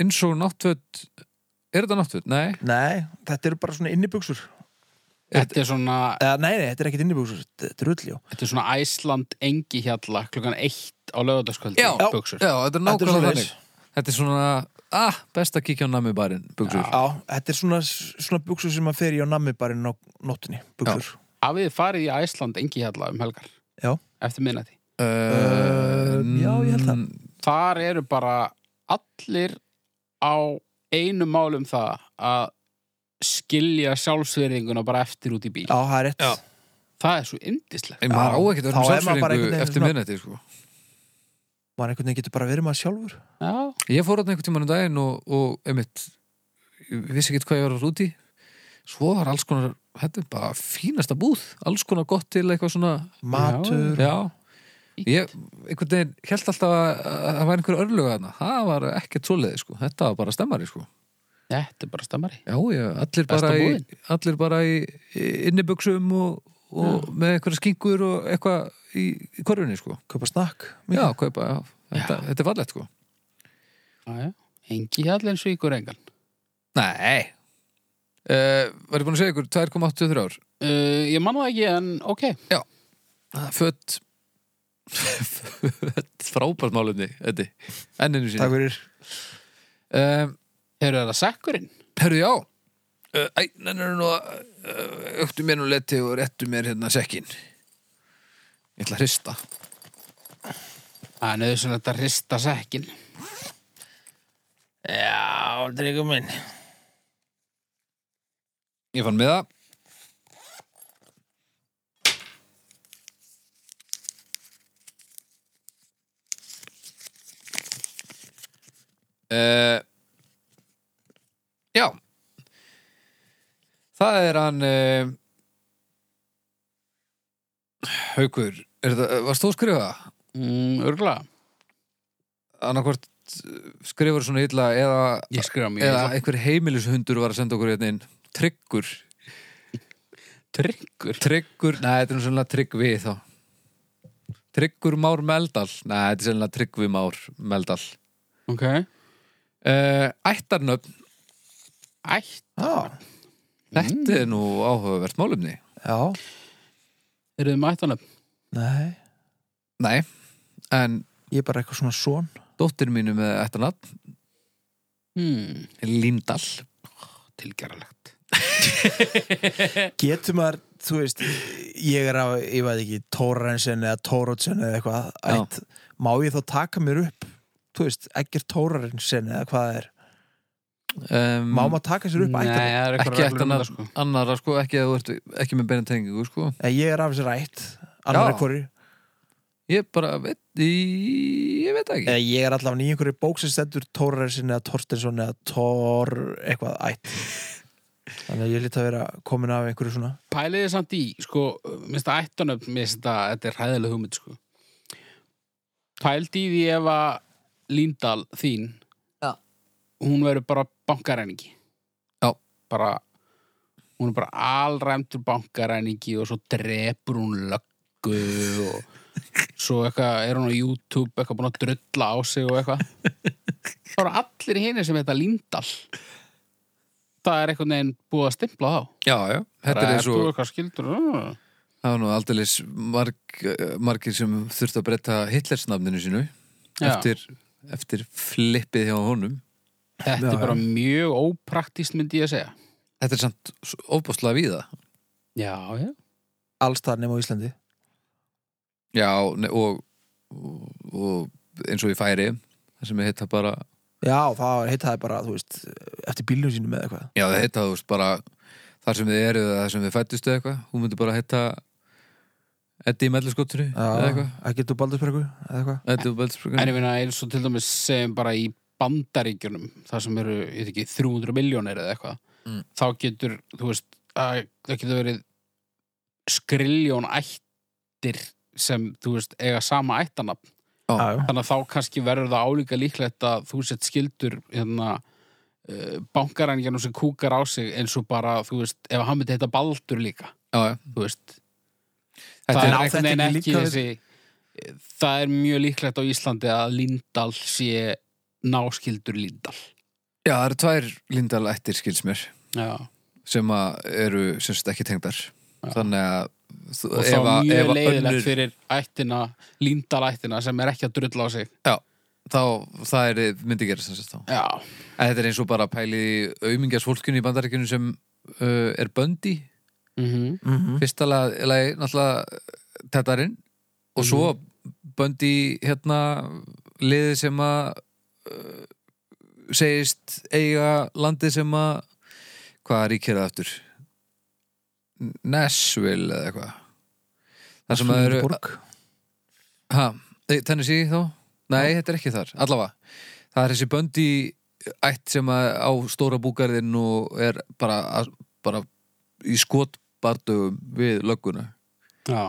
S1: eins og náttföt er þetta náttföt? Nei,
S2: Nei, þetta eru bara svona innibuksur
S3: þetta er svona
S2: Eða, Eh, nei, nei, þetta er ekkert innibuksur, þetta er öll, já
S3: Þetta er svona Æsland engi hjalla klukkan eitt á lögadagskvöldi
S1: Já.
S3: buksur.
S1: já, þetta er
S2: Þetta er
S1: nákvæmlega
S2: svoleiðis.
S1: þannig Þetta er svona, ah, best að kíkja á nami barinn, buksur
S2: Já, þetta er svona, svona buksur sem maður fer í á nammi bara inn á nóttinni, buksur
S3: Hafið þið farið í Æsland engi hjalla um helgar
S2: Já.
S3: Eftir minnati
S1: uh,
S2: já, ég held það.
S3: Þar eru bara allir á einu málum það að skilja sjálfsverðinguna bara eftir út í bíl
S2: Já, það er rétt
S1: Já.
S3: Það er svo yndislegt
S1: En maður á ekkert að
S2: þá
S1: vera
S2: er maður
S1: með
S2: bara einhvern
S1: sjálfsveringu
S2: veginn
S1: eftir
S2: svona-
S1: miðnætti sko.
S2: Maður einhvern veginn getur bara verið maður sjálfur
S3: Já,
S1: Ég fór þarna einhvern tímann um daginn og, og einmitt, ég vissi ekkert hvað ég var að rúti Svo var alls konar, þetta er bara fínasta búð Alls konar gott til eitthvað svona
S2: Matur,
S1: Já, ég einhvern veginn held alltaf að að það var einhver örlöga þarna Það var ekkert svoleiði sko, þetta var bara stemmari sko
S3: þetta er bara stammari
S1: Já, já, allir
S3: Besta
S1: bara, í,
S3: búðin.
S1: allir bara í í innibuxum og, og með eitthvað skingur og eitthvað í, í korfunni sko.
S2: Kaupa snakk
S1: Já, kaupa, já. Þetta,
S3: Já.
S1: þetta er fallegt sko.
S3: já. Engi hjallin svíkur engan
S1: Nei. Uh, var ég búin að segja ykkur 2,83 ár?
S3: uh, Ég man það ekki en ok
S1: Fött Fött frábært málumni Þetta
S2: Takk
S1: enninu sín
S2: fyrir
S1: um,
S3: Eru það sekkurinn?
S1: Herðu já uh, Æ, nennir nú að uh, auktu mér nú leti og réttu mér hérna sekkin Ég ætla að hrista
S3: Það er nöðsynlegt að hrista sekkin
S2: Já, drengur minn
S1: Ég fann með það Uh, já Það er hann uh, Haukur er það, Varst þú að skrifa?
S3: mm, Örgla,
S1: Annarkvort uh, skrifur svona illa eða,
S3: ég skrifa mjög
S1: eða
S3: illa.
S1: einhver heimilishundur var að senda okkur hérna inn Tryggur
S3: Tryggur
S1: Tryggur, neða, þetta er nú sennilega Tryggvi þá Tryggur Már Meldal Neða, þetta er sennilega Tryggvi Már Meldal
S3: Ok
S1: uh, Ættarnöfn,
S3: Ætt
S2: Já,
S1: þetta
S2: Mm.
S1: er nú áhugavert málumni
S2: já,
S3: Eru þið mættanöfn?
S2: nei
S1: Nei, en
S2: Ég er bara eitthvað svona svon
S1: dóttir mínu með ættarnöfn
S3: Hmm,
S1: Líndal
S3: tilgerðalegt
S2: Getur maður, þú veist Ég er á, ég veit ekki, Tórensen eða Tórótsen eða eitthvað
S1: Já.
S2: ætt, Má ég þá taka mér upp Þú veist, ekkert Tórensen eða hvað það er
S1: um,
S2: Má maður taka sér upp
S3: Nei,
S2: ættarnöfn?
S3: það er eitthvað
S1: Ekki
S3: reglur um
S1: ættarnöfn
S3: það sko
S1: annara sko, ekki, að þú ert, ekki með beina tengingu sko
S2: Eða Eh, Ég er af þessi rætt, annar
S1: Já.
S2: einhverju
S1: Ég bara veit, ég, ég veit það ekki
S2: Eða Eh, ég er allavega í einhverju bók sem stendur Tórensen eða Torstensson eða Tor eitthvað ætt Þannig að ég lítið að vera komin af einhverju svona
S3: Pæliði samt í, sko, minnst að ættanöfn, minnst að þetta er hæðileg hugmynd, sko. Pældi í því ef að Líndal þín,
S1: Já.
S3: hún verður bara bankaræningi.
S1: Já.
S3: Bara, hún er bara alræmtur bankaræningi og svo drepur hún löggu og svo eitthvað, er hún á YouTube eitthvað búin að drulla á sig og eitthvað. Það eru allir í henni sem heita Líndal. Það er einhvern veginn búið að stimpla þá.
S1: Já, já, þetta er eins og
S2: sko.
S3: Þú eitthvað skildur uh.
S1: Það var nú aldeilis marg, margir sem þurfti að breyta Hitlersnafninu sínu
S3: Já.
S1: eftir, eftir flippið hjá honum.
S3: Þetta
S2: Já,
S3: er bara mjög ópraktist myndi ég að segja
S1: Þetta er samt óbúslega víða.
S3: Já, já
S2: Alls það nema á Íslandi
S1: Já, ne, og, og, og eins og í færi, það sem heita bara,
S2: Já, það heitaði bara, þú veist, eftir bílnum sínum eða eitthvað.
S1: já það heita þú veist bara þar sem þið eruð eða þar sem þið fættust eða eitthvað, hún myndi bara heita Eddi í melliskottinu eða
S2: Já,
S1: eitthvað.
S2: ekki þú baldursbrekku eða eitthvað.
S1: Eddi úr
S3: En
S1: Beldsbrukunni.
S3: ég finna eins og til dæmis segjum bara í bandaríkjunum þar sem eru, ég veit ekki, 300 miljónir eða eitthvað
S1: Mm.
S3: þá getur, þú veist að, það getur verið skriljón ættir sem, þú veist, eiga sama ættanafn
S1: Já.
S2: Já, já.
S3: þannig að þá kannski verður það álíka líklegt að þú sett skildur hérna uh, bankaræningjarnum sem kúkar á sig eins og bara, þú veist, ef hann myndi heita Baldur líka
S1: Já, já.
S3: þú veist
S1: Þetta
S3: það
S1: er-
S3: er
S2: á
S3: einhvern
S2: þetta
S3: veginn
S2: ekki
S3: ekki
S2: líka við-
S3: þessi það er mjög líklegt á Íslandi að Lindal sé náskildur Lindal
S1: já, það eru tvær lindal ættir skils mér
S3: já,
S1: sem að eru sem sagt ekki tengdar
S3: Já.
S1: þannig að þú-
S3: og
S1: ef
S3: þá
S1: að- ef
S3: mjög
S1: að
S3: leiðilegt
S1: önnur-
S3: fyrir ættina, Lindal ættina sem er ekki að drulla á sig
S1: þá það er myndi gera sem sagt þá
S3: já,
S1: að þetta er eins og bara pæli aumingjars fólkinu í bandaríkjunum sem uh, er böndi
S3: mm
S2: Mm -hmm.
S1: fyrsta lag, lagi náttúrulega tettarinn og svo böndi hérna liði sem að uh, segist eiga landið sem að hvað ríkir það aftur N- Nashville eða eitthvað þar sem að eru Ha, nei, Tennessee þá? Nei, þetta er ekki þar, allavega Það er þessi böndi ætt sem að á stóra búgarðinn og er bara, að- bara í skotbardugum við lögguna
S3: já,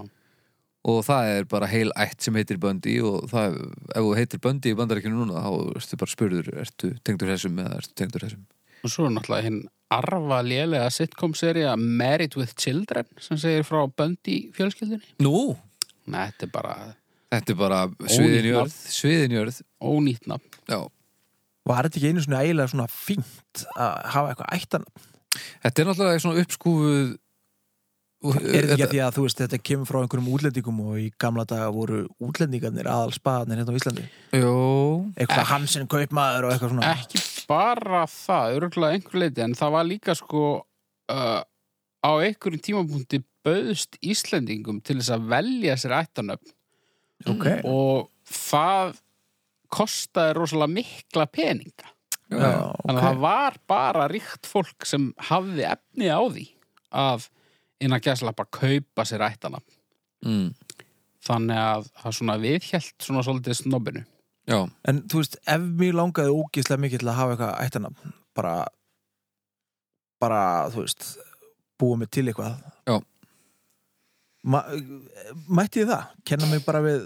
S1: og það er bara heil ætt sem heitir böndi og það, ef þú heitir böndi í bandarækjunum núna þá ertu bara spurður, ertu tengdur þessum eða ertu tengdur þessum
S3: og svo er náttúrulega hinn arfa lélega sitcom-seria Married with Children sem segir frá Böndi fjölskyldunni
S1: Nú,
S3: Nei, þetta er bara
S1: Þetta er bara sviðinjörð, sviðinjörð.
S3: ónýtt nafn.
S1: Já.
S2: Var þetta ekki einu svona eiginlega svona fínt að hafa eitthvað ættan
S1: Þetta er náttúrulega svona uppskúfuð
S2: Er þetta ekki að því að þú veist þetta kemur frá einhverjum útlendingum og í gamla daga voru útlendingarnir aðal spaðarnir hérna á Íslandi
S1: Jó,
S2: eitthvað Hansen kaupmaður og eitthvað svona
S3: Ekki bara það, örgulega einhver leiti, en það var líka sko uh, á einhverjum tímapunkti bauðst Íslendingum til þess að velja sér ættanöfn
S2: okay.
S3: og það kostaði rosalega mikla peninga.
S2: Já,
S1: já.
S3: Þannig að það var bara ríkt fólk sem hafði efni á því að innan gæslappa kaupa sér ættanöfn.
S1: Mm.
S3: þannig að það svona viðhjælt svona svolítið snobbinu
S1: já.
S2: En þú veist, ef mér langaði ógíslega mikið til að hafa eitthvað ættanafn bara, bara þú veist, búa mig til eitthvað
S1: Já.
S2: Ma, Mætti ég það? Kenna mig bara við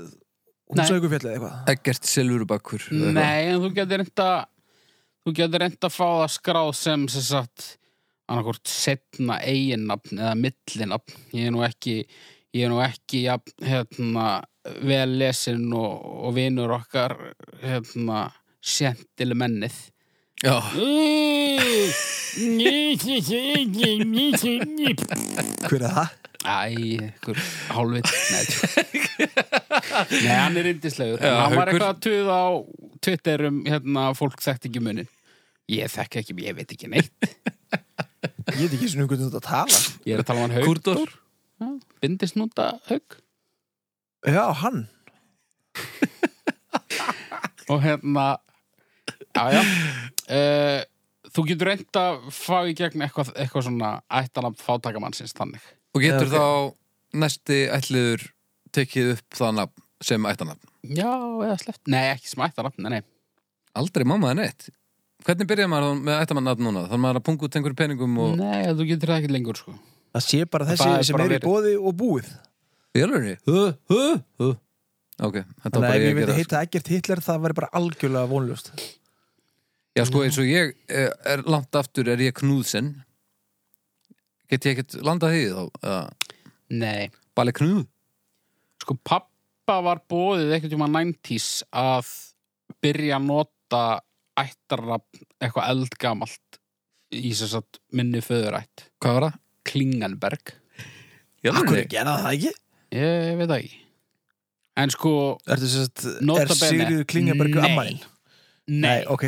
S2: húsaukufjallið eitthvað?
S1: Eggert Silfurbakur eða eitthvað.
S3: Nei, en þú getur reynda þú getur reynda að fá það skráð sem sem sagt annarkvort setna eiginnafn eða millinafn ég er nú ekki ég er nú ekki ja, hérna, vel lesin og, og vinur okkar hérna sentil mennið
S1: Já,
S3: Æ,
S2: Hver er það?
S3: ykkur hálfið Nei, tjú. Nei, hann er yndislegur En
S1: Já,
S3: Hann var
S1: Haukur.
S3: eitthvað að tuða á Twitter um hérna, fólk þekkt ekki munin Ég þekk ekki, ég veit ekki neitt
S2: Ég veit ekki um svona einhvern veginn að tala
S3: Ég er að tala um hann haug
S1: Kúrdor
S3: Bindisnúta haug
S2: Já, hann
S3: Og hérna Já, já uh, Þú getur reynd að fá í gegn eitthvað, eitthvað svona ættanab fátakamannsins þannig
S1: Og getur
S2: Já,
S1: þá næsti ætliður tekið upp það nafn sem ættanafn
S3: Já, eða sleppt Nei, ekki sem ættanab, nei, nei
S1: Aldrei mamma það neitt Hvernig byrjaði maður þá með ættamannafn núna? Þannig maður er að punga út einhverjum peningum og
S3: Nei, þú getur það ekki lengur sko
S2: Það sé bara þessi
S3: Það er
S2: sem
S3: bara
S2: er í
S3: verið.
S2: bóði og búið
S1: Félurni? Hú, hú, hú Ok, þetta var
S2: Þannig að
S1: bara
S2: ef ég
S1: ég að
S2: veit
S1: gera
S2: að
S1: heit...
S2: heita ekkert Hitler það væri bara algjörlega vonlust
S1: Já, sko, eins og ég er, er langt aftur er ég knúðsen Get ég ekkert landað því þá? Uh,
S3: Nei
S1: Bali knúð?
S3: sko pappa var bóðið eitthvað tíma 90s að byrja að nota ættarrafn eitthvað eldgamalt í þess að minni föðurætt
S1: Hvað var það?
S3: Klingenberg
S2: Akkur gera það ekki?
S3: ég veit það ekki en sko
S2: Er, sest, er
S3: nota bene-
S2: Sigriður Klingabergu
S3: Nei.
S2: ammarinn?
S3: nei,
S2: ok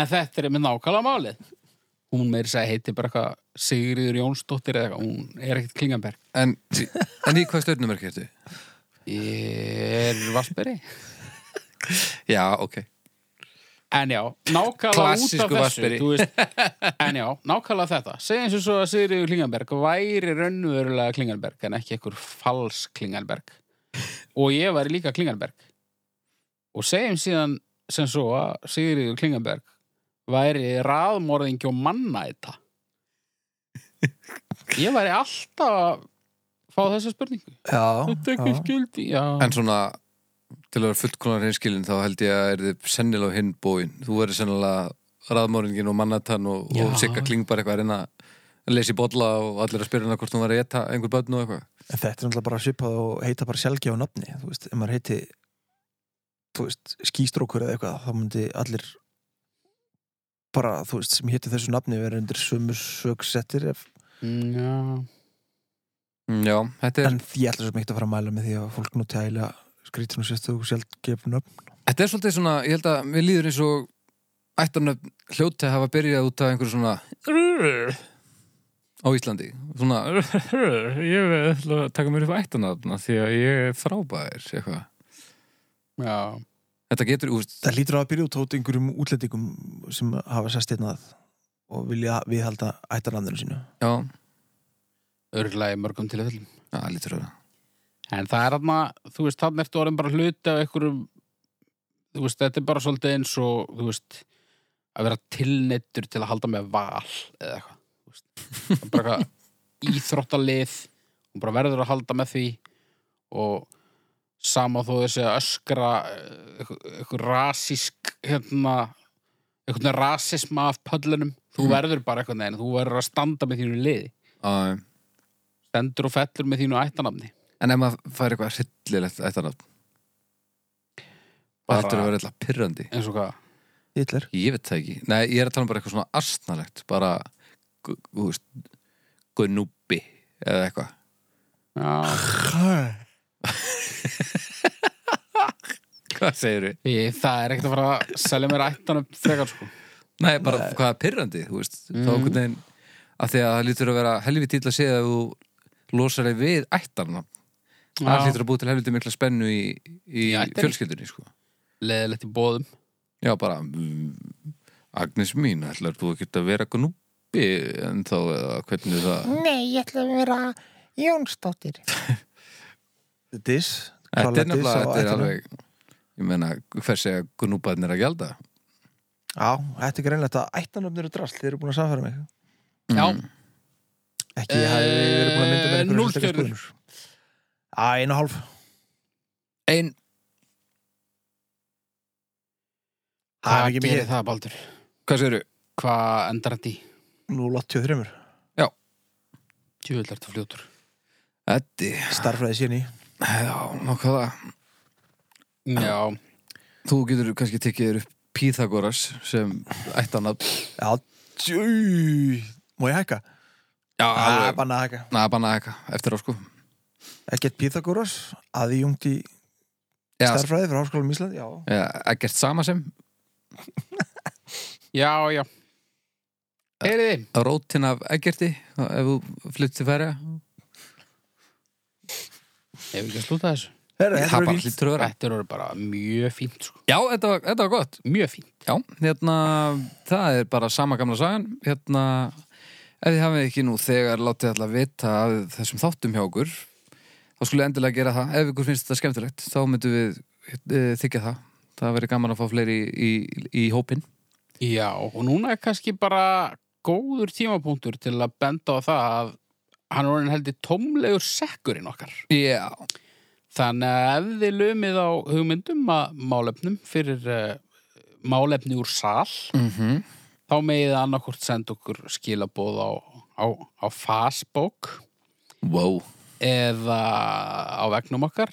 S3: en þetta er með nákvæmlega málið hún meir sér heiti bara eitthvað Sigriður Jónsdóttir eða eitthvað, hún er ekkert Klingenberg
S1: En, en í hvað stjörnumverk ertu?
S3: ég er Vassberi
S1: Já, ok
S3: En já, nákvæmlega út
S1: Klassísku
S3: af þessu
S1: Vatnsberi.
S3: þú veist, En já, nákvæmlega þetta Segja eins og svo að Sigriður Klinganberg væri raunverulega Klinganberg en ekki einhver fals Klinganberg og ég væri líka Klinganberg og segjum síðan sem svo að Sigriður Klinganberg væri raðmorðingi og manna þetta Ég væri alltaf að fá þessa spurningu
S2: Já,
S3: Þú tekur
S2: já.
S3: skildi, já
S1: En svona til að vera fullkonar hinskilin þá held ég að er þið sennilega á hinn bóin Þú verður sennilega raðmóringin og mannatan og, og
S3: Já.
S1: sikka klingbar eitthvað að reyna að lesa í bolla og allir að spyrja hana hvort hún var að geta einhver börn og eitthvað
S2: En þetta er náttúrulega bara svipað og heita bara sjálfgjáð nafni, þú veist, ef maður heiti þú veist, skýstrókur eða eitthvað þá myndi allir bara, þú veist, sem heiti þessu nafni verið undir sömu sögsettir ef...
S3: Já,
S1: Mm, Já, þetta er,
S2: en ég ætla svo mikið að fara að mæla með því að fólk nú tæla skrýtur nú sérstu og sjálfgef nöfn
S1: þetta er svolítið svona ég held að mér líður eins og ættarnöfn hljóti að hafa byrjað út af einhverju svona á Íslandi svona ég vil ætla að taka mér upp ættarnöfna því að ég er frábær eitthvað.
S3: já
S1: Þetta getur, úst,
S2: það lítur á að byrja út át einhverjum útlendingum sem hafa sérst einnað og vilja viðhalda ættarnafninu sínu
S1: já,
S3: Örgulega í mörgum tilfellum
S1: já, lítur að það
S3: En það er hann þú veist, þannig ertu orðin bara hluti af einhverjum, þú veist, þetta er bara svolítið eins og, þú veist, að vera tilneittur til að halda með val eða eitthvað, þú veist. Það er bara eitthvað íþróttalið og bara verður að halda með því og sama þó þessi að öskra eh, eitthvað, eitthvað rasísk, hérna, eitthvað rasisma af pöllunum, þú
S1: Mm.
S3: verður bara eitthvað neginn, þú verður að standa með þínu liði,
S1: Æ,
S3: stendur og fellur með þínu ættanamni.
S1: en ef maður fær eitthvað hryllilegt ættanafn það
S3: Bara-
S1: ættur að vera eitthvað pyrrandi
S3: eins og hvað
S2: Hitler
S1: ég veit það ekki, nei ég er að tala um bara eitthvað svona astnalegt, bara gu- þú veist, gunnúbi eða eitthvað
S3: Já,
S1: hvað segir við?
S3: ég, það er ekkert að fara að selja mér ættan upp frekar sko
S1: Nei, bara hvað er pyrrandi, þú veist
S3: Mm.
S1: þá einhvern veginn, af því að það lítur að vera helvið til að segja að þú losar þig við ættarna, það lítur að búið til helviti mikla spennu í, í
S3: Í ættinni?
S1: fjölskyldunni, sko
S3: leðilegt í bóðum
S1: Já, bara mm, Agnes mín, ætlar þú ekki að vera gnúpi en þá eða hvernig það
S2: Nei, ég ætla að vera Jónsdóttir Diss
S1: Þetta
S2: Klálega diss
S1: er nefnilega,
S2: á
S1: þetta er
S2: ættina.
S1: alveg ég meina, hver segja gnúpaðnir að gjalda
S2: Já, þetta er greinlegt að ættanöfnir eru drasl Þeir eru búin að samfæra mig
S3: Já,
S1: Mm.
S2: Ekki,
S1: Eh,
S2: ég hafi verið búin að mynda með
S3: Eh,
S2: einhverjar
S3: núll
S2: sérstakar
S3: stjörnur.
S2: skoðanir. Já, einu og hálf
S1: Ein,
S2: Það er
S3: hvað
S2: ekki
S3: gerir
S2: mikið
S3: það Baldur?
S1: hvað segirðu?
S3: Hvað endar þetta í?
S2: Nú 83
S3: Tjúvill ertu fljótur
S1: Eddi,
S2: Starfræði síðan í
S1: já, nokkaða
S3: Já,
S1: Þú getur kannski tekið þér upp Pythagoras sem ættanab
S2: Já, tjú Má ég hækka?
S1: Já,
S2: Já, banna að hækka
S1: Næ, bara næka, eftir á sko
S2: Ekkert Pythagoras aðjungt í
S1: Já, sko.
S2: starfræði frá Háskólanum Ísland Já,
S1: já, ekkert sama sem
S3: já, já Heyriði,
S1: rótin af Eggerti ef þú flytt til færa
S3: hefur ekki að slúta þessu
S2: Herra, þetta
S1: Það
S2: er
S1: bara
S2: fínt
S1: hlýttur að vera
S3: Þetta eru bara mjög fínt sko.
S1: Já, þetta var, þetta var gott
S3: Mjög fínt
S1: Já, hérna, það er bara sama gamla sagan Hérna, ef þið hafið ekki nú þegar látið alltaf vita af þessum þáttum hjá okkur þá skulle endilega gera það Ef ykkur finnst þetta skemmtilegt, þá myndum við e, þykja það Það verið gaman að fá fleiri í, í, í hópin
S3: Já, og núna er kannski bara góður tímapunktur til að benda á það að hann er orðin heldur tómlegur sekkurinn okkar.
S1: Já,
S3: Þannig að ef þið lumið á hugmyndum að málefnum fyrir uh, málefni úr sal,
S1: mhm
S3: þá megið annarkvort senda okkur skilaboð á, á, á fastbók
S1: Wow
S3: eða á vegnum okkar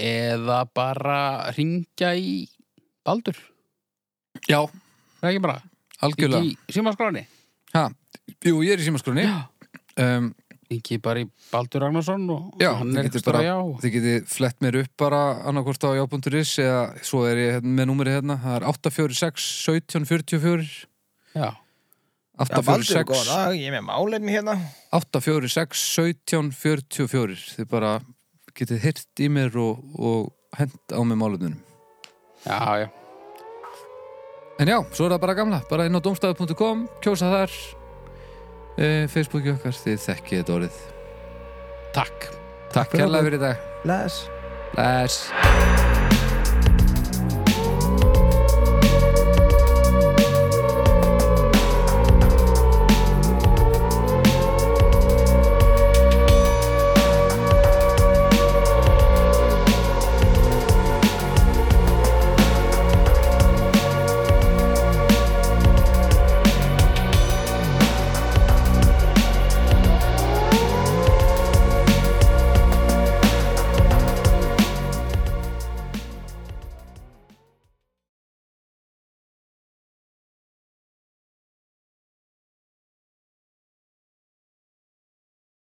S3: eða bara ringja í Baldur.
S1: Já,
S3: Það er ekki bara,
S1: algjörlega
S3: ekki í símaskráni.
S1: ha, Jú, ég er í símaskrunni um,
S3: Ingi bara í Baldur Ragnarsson og
S1: Já,
S3: hann
S1: þið
S3: er
S1: getið
S3: ekki stóra
S1: bara-
S3: já.
S1: Þið getið flett mér upp bara annarkvort á já.is eða svo er ég hérna, með númerið hérna það er 846 1744
S3: já.
S2: Já, Baldur er góð
S1: 846
S2: dag, ég er með málefni hérna
S1: 846 1744 Þið bara getið hirt í mér og, og hent á mig málunum
S3: já, já,
S1: En já, svo er það bara gamla bara inn á domstæðu.com, kjósa þar e, Facebooki okkar þið þekkið þetta orðið
S3: Takk.
S1: Takk
S2: fyrir
S1: hérlega
S2: okkur.
S1: fyrir í dag
S2: Bless
S1: Bless